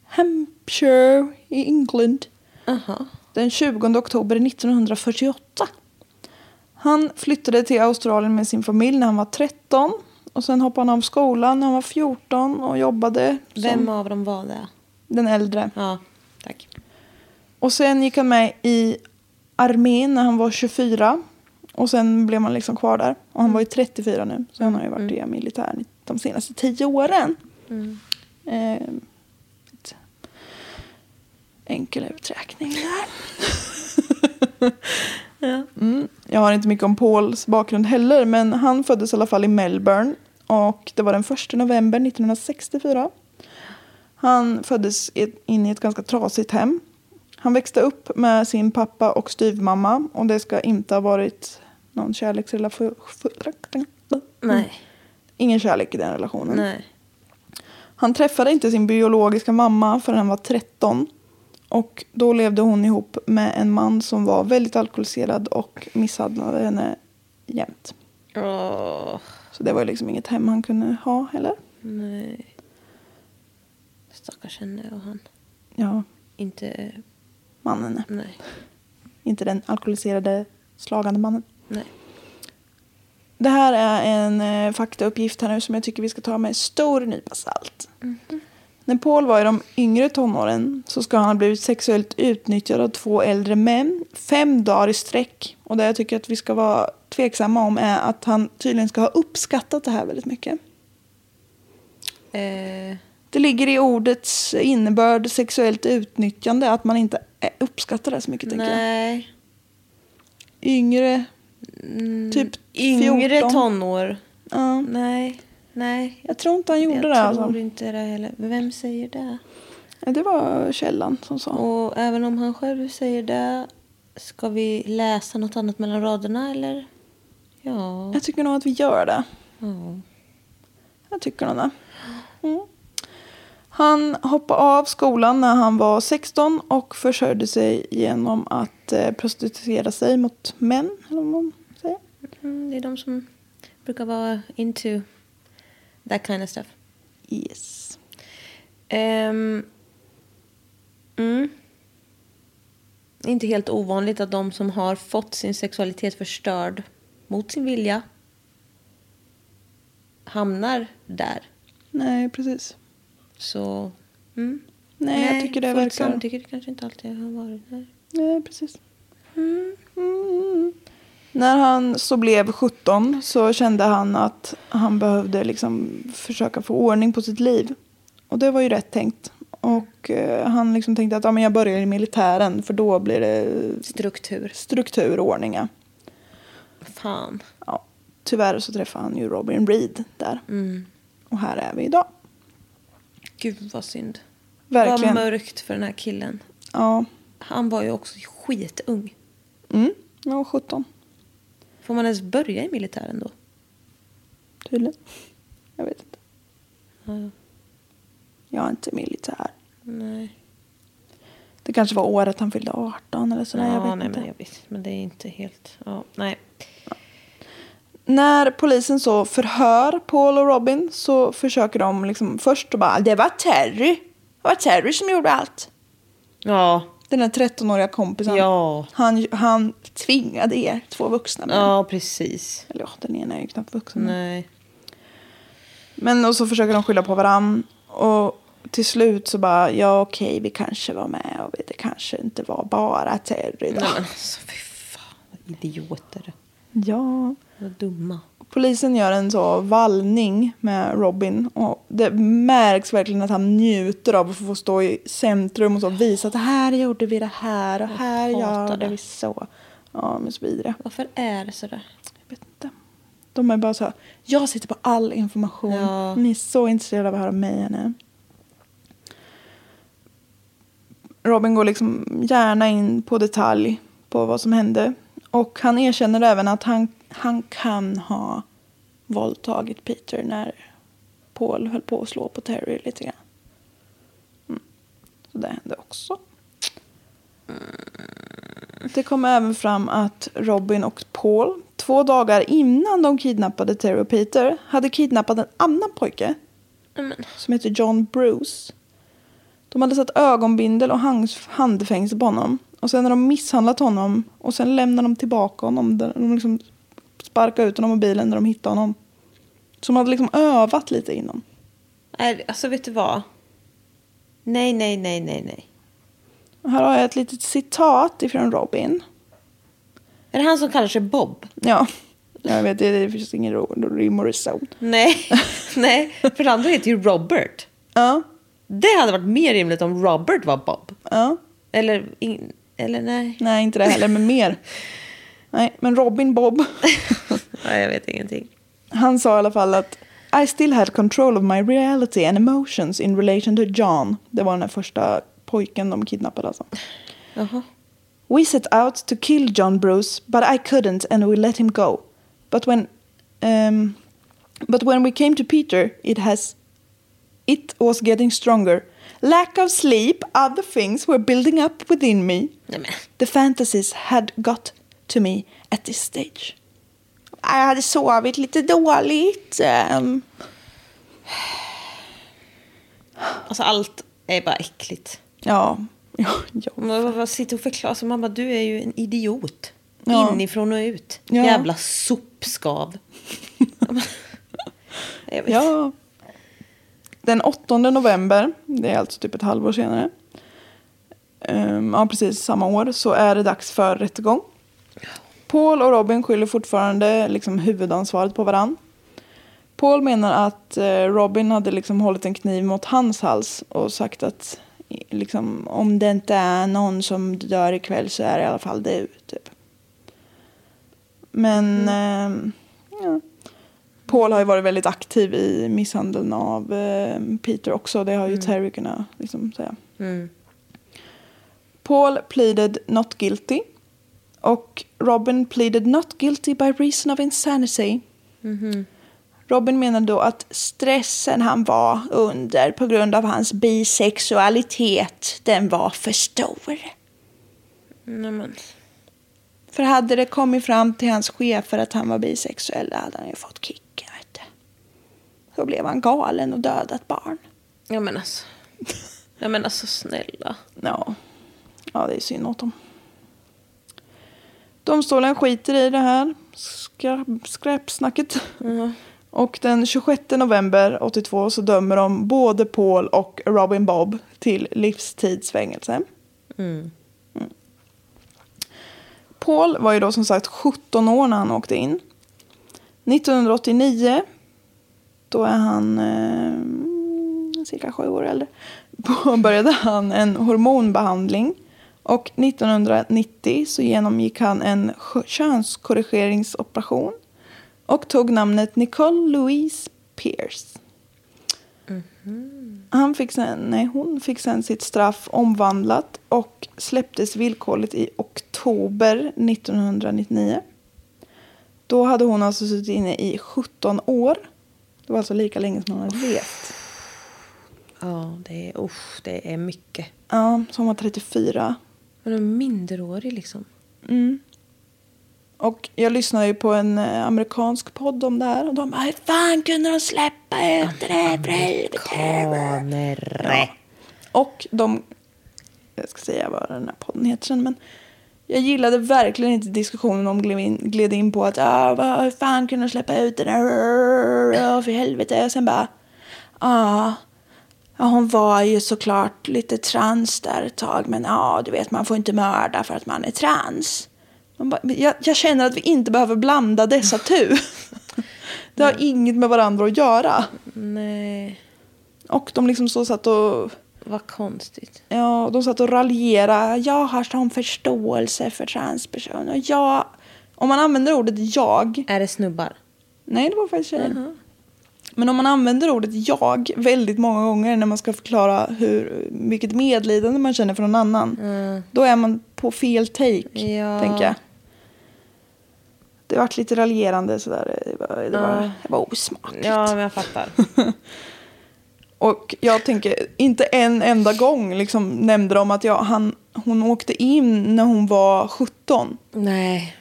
Hampshire i England. Den 20 oktober 1948. Han flyttade till Australien med sin familj när han var 13. Och sen hoppade han av skolan när han var 14 och jobbade
Vem
som
av dem var det?
den äldre.
Ja, tack.
Och sen gick han med i armén när han var 24. Och sen blev man liksom kvar där. Och han var ju 34 nu. Så han har ju varit i militären de senaste tio åren. Eh, ett- enkel uträkning
<laughs>
där. mm. Jag har inte mycket om Pauls bakgrund heller. Men han föddes i alla fall i Melbourne. Och det var den 1 november 1964. Han föddes i- in i ett ganska trasigt hem. Han växte upp med sin pappa och styvmamma och det ska inte ha varit någon kärleksrelation. Mm.
Nej,
Ingen kärlek i den relationen.
nej.
Han träffade inte sin biologiska mamma förrän han var 13. Och då levde hon ihop med en man som var väldigt alkoholiserad och misshandlade henne jämt.
Åh,
Så det var ju liksom inget hem han kunde ha heller.
nej. Stackars henne och han.
Ja,
Inte...
mannen.
Nej,
Inte den alkoholiserade slagande mannen.
nej.
Det här är en eh, faktauppgift här nu som jag tycker vi ska ta med en stor nypa salt.
Mhm.
När Paul var i de yngre tonåren så ska han ha blivit sexuellt utnyttjad av två äldre män fem dagar i sträck. Och det jag tycker att vi ska vara tveksamma om är att han tydligen ska ha uppskattat det här väldigt mycket.
Eh,
Det ligger i ordets innebörd sexuellt utnyttjande att man inte eh, uppskattar det så mycket. Tänker jag.
nej.
Yngre, typ 14.
Mm, Yngre tonår.
Ja.
Nej, nej.
Jag tror inte han gjorde
Jag
det.
tror
Alltså.
inte det heller. Vem säger det?
Ja, Det var källan som sa.
Och även om han själv säger det, ska vi läsa något annat mellan raderna eller? Ja.
Jag tycker nog att vi gör det.
ja.
Jag tycker nog det. Mm. Han hoppade av skolan när han var 16 och försörjde sig genom att eh, prostituera sig mot män. Eller vad man säger.
Mm, det är de som brukar vara into that kind of stuff.
Yes.
Ehm, mm. Det är Inte helt ovanligt att de som har fått sin sexualitet förstörd mot sin vilja hamnar där.
Nej, precis.
Så... Mm.
Nej, jag tycker det
fullt
verkar...
samtycke kanske inte alltid har varit där.
Nej, precis. Mm. När han så blev 17 så kände han att han behövde liksom försöka få ordning på sitt liv. Och det var ju rätt tänkt. Och eh, han liksom tänkte att ja, men jag börjar i militären för då blir det
Struktur.
struktur och ordning. ja.
Fan.
Ja, tyvärr så träffade han ju Robin Reed där.
Mm.
Och här är vi idag.
Gud vad synd.
Verkligen.
Vad mörkt för den här killen.
Ja,
Han var ju också skitung.
mm. han var 17
Får man ens börja i militären då?
tydligen. Jag vet inte.
Ja.
Jag är inte militär.
Nej.
Det kanske var året han fyllde 18 eller sådär.
ja,
jag vet
nej,
inte.
Men, jag vet, men det är inte helt... Ja, nej.
När polisen så förhör Paul och Robin så försöker de liksom först och bara det var Terry. Det var Terry som gjorde allt.
Ja,
Den där 13-åriga kompisen.
Ja.
Han, han tvingade er två vuxna män.
ja precis.
Eller ja, den ena är ju knappt vuxen.
Nej.
Men och så försöker de skylla på varann. Och till slut så bara ja okej vi kanske var med och det kanske inte var bara Terry då.
nej men alltså, fy fan. vad Idioter.
Ja.
Vad dumma.
Polisen gör en så vallning med Robin och det märks verkligen att han njuter av att få stå i centrum och så visa att här gjorde vi det här och här
hatar
gjorde
det.
vi så. Ja, men så vidare.
Varför är det sådär?
Jag vet inte. De är bara så här, jag sitter på all information.
Ja.
Ni är så intresserade av att höra mig här nu. Robin går liksom gärna in på detalj på vad som hände. Och han erkänner även att han, han kan ha våldtagit Peter när Paul höll på att slå på Terry lite grann. Mm. Så det hände också. Det kom även fram att Robin och Paul två dagar innan de kidnappade Terry och Peter hade kidnappat en annan pojke som heter John Bruce. De hade satt ögonbindel och hangs- handfängsel på honom. Och sen har de misshandlat honom och sen lämnar de tillbaka honom. De de liksom sparkar ut honom ur bilen när de hittar honom. Så de hade liksom övat lite innan.
Nej, Alltså vet du vad? Nej, nej, nej, nej, nej.
Och här har jag ett litet citat ifrån Robin.
Är det han som kallar sig Bob?
Ja, jag vet, det det finns ingen ro- rim och reson.
Nej, <laughs> nej. För det andra heter ju Robert.
Ja,
Det hade varit mer rimligt om Robert var Bob.
ja.
Eller, in, eller nej.
Nej, inte det heller, men mer. Nej, men Robin Bob.
nej. Jag vet ingenting.
Han sa i alla fall att I still had control of my reality and emotions in relation to John. Det var den här första pojken de kidnappade alltså. We set out to kill John Bruce, but I couldn't and we let him go. But when um, but when we came to Peter, it has it was getting stronger. Lack of sleep, other things were building up within me.
Nej, men.
The fantasies had got to me at this stage. Jag hade sovit lite dåligt. ehm,
Alltså allt är bara äckligt.
ja. <laughs> Ja, ja.
Men Vad, vad sitter och förklarar? Alltså, mamma, du är ju en idiot.
Ja.
Inifrån och ut.
Ja.
Jävla sopskav. <laughs> jag vet.
ja. Den 8 november, det är alltså typ ett halvår senare. ehm, ja, precis samma år så är det dags för rättegång. Paul och Robin skyller fortfarande liksom huvudansvaret på varann. Paul menar att eh, Robin hade liksom hållit en kniv mot hans hals och sagt att i- liksom, om det inte är någon som dör ikväll så är det i alla fall du. Typ. Men ehm, ja. Paul har ju varit väldigt aktiv i misshandeln av eh, Peter också. Det har ju Terry kunnat liksom, säga. Paul pleaded not guilty. Och Robin pleaded not guilty by reason of insanity. Robin menar då att stressen han var under på grund av hans bisexualitet, den var för stor.
Nej, men.
För hade det kommit fram till hans chefer att han var bisexuell då hade han ju fått kicken. Vet du. Då blev han galen och dödat barn.
Ja, men alltså. Ja, men alltså snälla.
Ja, ja det är synd åt dem. Domstolen skiter i det här skra- skräpsnacket. Och den 26 november 82 så dömer de både Paul och Robin Bob till livstidsfängelse. Mm. Paul var ju då som sagt 17 år när han åkte in. 1989 då är han eh, cirka sju år äldre. <laughs> Påbörjade han en hormonbehandling. Och 1990 så genomgick han en skö- könskorrigeringsoperation. Och tog namnet Nicole Louise Pierce. Han fick sen, nej, hon fick sen sitt straff omvandlat och släpptes villkorligt i oktober 1999. Då hade hon alltså suttit inne i 17 år. Det var alltså lika länge som hon hade levt.
Ja, det är, usch, det är mycket.
Ja, så hon var 34.
Men de är minderårig liksom.
Och jag lyssnade ju på en eh, amerikansk podd om det här och de bara Hur fan kunde de släppa ut det här för helvete?
Kanerre.
Och de, jag ska säga vad den här podden heter sen men jag gillade verkligen inte diskussionen om gled in, gled in på att ah, vad, hur fan kunde de släppa ut den här Ja, för helvete och sen bara ah, ja hon var ju såklart lite trans där ett tag men ja du vet man får inte mörda för att man är trans. Man bara, jag, jag känner att vi inte behöver blanda dessa tu. Det har inget med varandra att göra.
Nej,
Och de liksom så satt och
vad konstigt.
Ja, de satt och raljerade. Jag har sån förståelse för transpersoner. Och jag... Om man använder ordet jag.
Är det snubbar?
Nej, det var faktiskt tjejer. Men om man använder ordet jag väldigt många gånger när man ska förklara hur mycket medlidande man känner för någon annan. Då är man på fel take,
Ja.
tänker jag. varit lite raljerande sådär. Det var, det var, det var osmakligt.
Ja, men jag fattar.
Och jag tänker, inte en enda gång liksom nämnde de att jag, han, hon åkte in när hon var 17.
<laughs> Nej.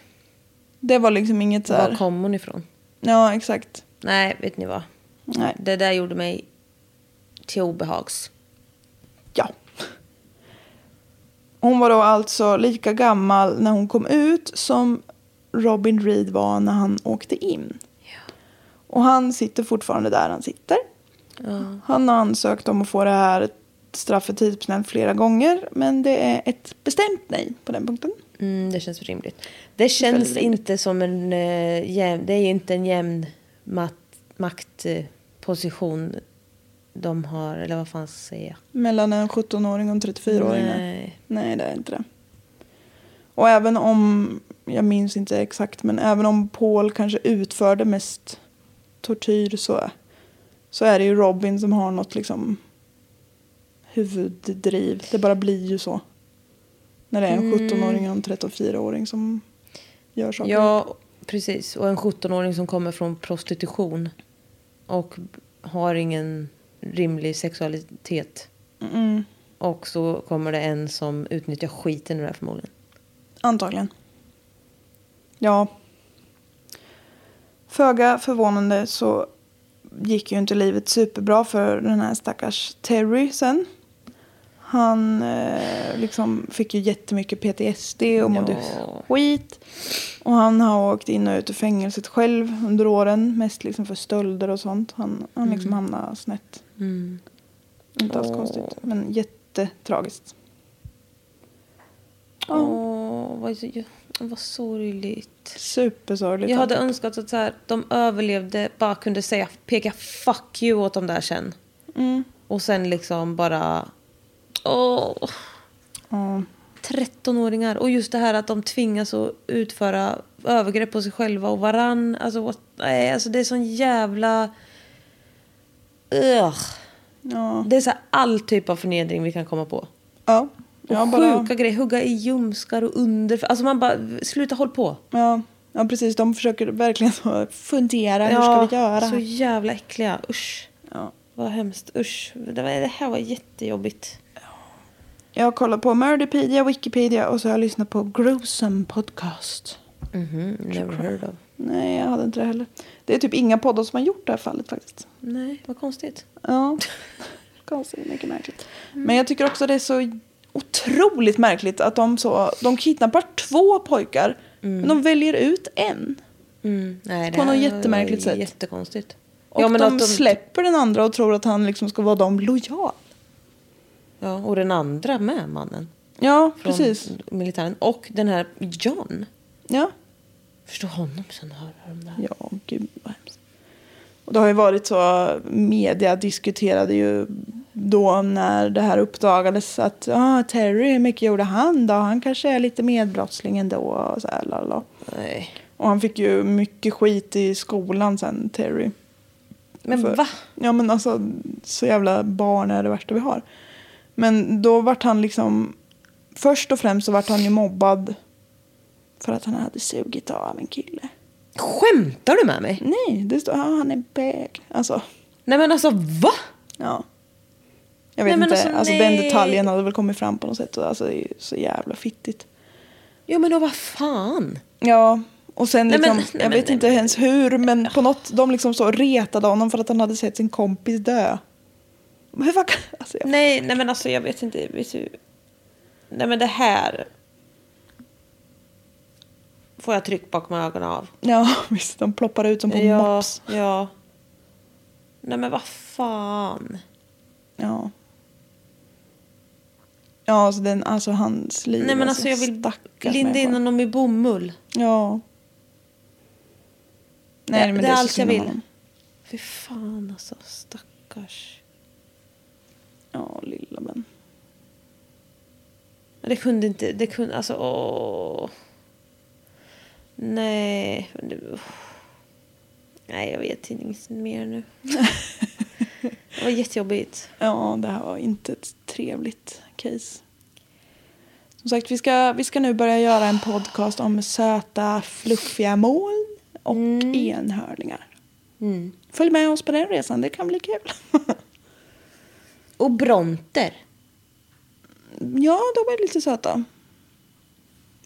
Det var liksom inget så
Var
här.
kom hon ifrån?
Ja, exakt.
Nej, vet ni vad?
Nej.
Det där gjorde mig till obehags.
Ja. Hon var då alltså lika gammal när hon kom ut som Robin Reed var när han åkte in. Och han sitter fortfarande där han sitter. Han har ansökt om att få det här straffet tidsbestämt flera gånger. Men det är ett bestämt nej på den punkten.
Mm, det känns rimligt. Det känns inte som en eh, jämn, det är inte en jämn maktposition de har, eller vad fan säger jag?
Mellan en 17-åring och en 34-åring.
Nej.
Nej, det är inte det. Och även om, jag minns inte exakt, men även om Paul kanske utförde mest tortyr så, så är det ju Robin som har något liksom huvuddriv. Det bara blir ju så. När det är
Mm.
en 17-åring och en 34-åring som gör saker.
Ja, precis. Och en 17-åring som kommer från prostitution och har ingen rimlig sexualitet.
Mm,
Och så kommer det en som utnyttjar skiten ur det här förmodligen.
antagligen. Ja. Föga förvånande så gick ju inte livet superbra för den här stackars Terry sen. Han eh, liksom fick ju jättemycket PTSD och mådde
Ja.
skit. Och han har åkt in och ut ur fängelset själv under åren. Mest liksom för stölder och sånt. Han,
Mm.
han liksom hamnade snett. Inte alls konstigt. Men jättetragiskt.
Åh, vad, vad sorgligt.
Supersorgligt.
Jag hade
alltihop.
önskat att så här, de överlevde, bara kunde säga, peka fuck you åt dem där sen. Och sen liksom bara... Åh,
Ja.
13-åringar. Och just det här att de tvingas att utföra övergrepp på sig själva och varann. Alltså, what, nej, alltså det är sån jävla... Ugh.
Ja.
Det är så här all typ av förnedring vi kan komma på.
Ja.
Och
Jag bara,
sjuka grejer, hugga i ljumskar och under... Alltså man bara, sluta håll på.
ja, ja, precis. De försöker verkligen <laughs> så fundera. hur ska vi göra?
Så jävla äckliga. Usch.
Ja.
Vad hemskt. Usch. Det, var, det här var jättejobbigt.
Jag har kollat på Murderpedia, Wikipedia och så har jag lyssnat på Gruesome Podcast.
Never heard of.
Nej, jag hade inte det heller. Det är typ inga poddar som har gjort det här fallet faktiskt.
Nej, vad konstigt.
Ja, <laughs> konstigt. Mycket märkligt. Men jag tycker också det är så otroligt märkligt att de så... De kidnappar två pojkar, men de väljer ut en.
Nej, det
På
här
något
var
jättemärkligt sätt.
Jättekonstigt.
Och de, släpper den andra och tror att han liksom ska vara dem lojal.
Ja, och den andra med mannen.
Ja,
Från
precis.
militären. Och den här John.
Ja.
Förstå honom sen höra om det här.
Ja, gud vad hemskt. Och det har ju varit så, media diskuterade ju då när det här uppdagades att ah, Terry, hur mycket gjorde han då? Han kanske är lite medbrottsling ändå. Och, så här, lala.
Nej.
och han fick ju mycket skit i skolan sen, Terry.
Men
För-
va?
Ja men alltså så jävla barn är det värsta vi har. Men då vart han liksom, först och främst så vart han ju mobbad för att han hade sugit av en kille.
Skämtar du med mig?
Nej, det står, ah, han är bög. Alltså,
Nej men alltså va?
ja. Jag vet
Nej, men
inte,
alltså,
alltså, den
nej.
detaljen hade väl kommit fram på något sätt. Och, alltså, det är ju så jävla fittigt.
Ja men och vad fan?
Ja, och sen
Nej,
liksom,
men- nej,
jag
men-
vet
nej,
inte
men-
ens hur, men på något, de liksom så retade honom för att han hade sett sin kompis dö. Men Hur fan kan, alltså, jag,
Nej, nej men alltså jag vet inte. Vet du... Nej men det här. Får jag tryck bakom ögonen av.
Ja, <laughs> visst, de ploppar ut som på
ja,
mops.
ja. Nej men vad fan.
Ja. Ja, alltså, den, alltså hans liv.
Nej men alltså jag vill
stackars
linda in
människa.
honom i bomull.
Ja. Nej, men det,
det är
så
allt jag
synd om
vill.
honom.
Fy fan alltså, stackars.
Ja, lilla vän.
Men det kunde inte, det kunde, alltså åh. Nej. men det- Nej jag vet inget mer <laughs> nu. det var jättejobbigt.
Ja, det här var inte ett trevligt case. Som sagt, vi ska, vi ska nu börja göra en podcast om söta, fluffiga moln. och
Mm.
enhörningar. Följ med oss på den resan, det kan bli kul. <laughs>
Och bronter.
ja, de är lite söta.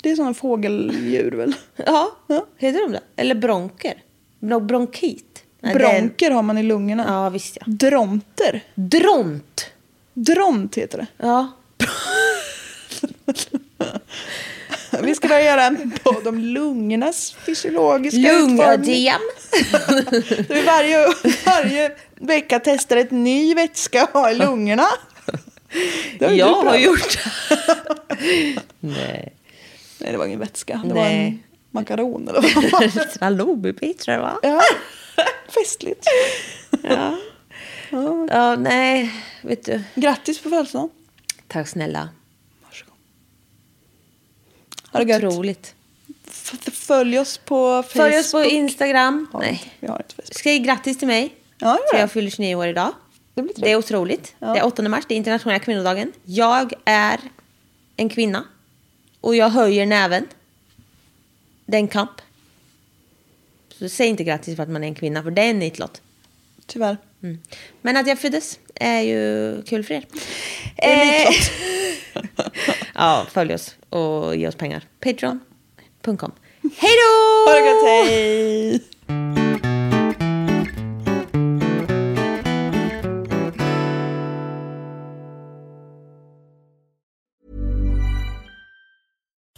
Det är sådana fågeldjur väl?
Ja,
Ja.
heter de det? Eller bronker? Bron- bronkit? Nej, det är-
Bronker har man i lungorna.
Ja, visst ja.
Dronter.
Dront!
Dront heter det.
Ja.
Vi ska börja göra en podd om lungornas fysiologiska utformning.
Lungadem.
Så vi varje, <laughs> varje vecka testar ett ny vätska att ha i lungorna. Det har ju
Jag
du
har
prövat.
gjort <laughs> Nej.
Nej, det var ingen vätska. Det var
Nej.
en makaron eller vad det var.
<laughs> Salobi tror jag va?
Ja, festligt.
Ja. ja, nej, vet du.
Grattis på födelsedagen.
Tack snälla.
Varsågod. Ha det gött.
Otroligt.
F- Följ oss på Facebook.
Följ oss på Instagram.
Har vi inte.
Nej.
Vi har inte Facebook.
Säg grattis till mig.
Ja, gör
för
det.
jag fyller 29 år idag.
Det blir trevligt.
Det är otroligt.
Ja.
Det är 8 mars, det är internationella kvinnodagen. Jag är en kvinna. Och jag höjer näven. Det är en kamp. Så säg inte grattis för att man är en kvinna, för det är en nitlott.
Tyvärr.
Mm. Men att jag föddes är ju kul för er. Eh,
är nitlott.
<laughs> ja, följ oss och ge oss pengar.
<laughs>
Patreon.com. Hej då!
Ha det gött, hej!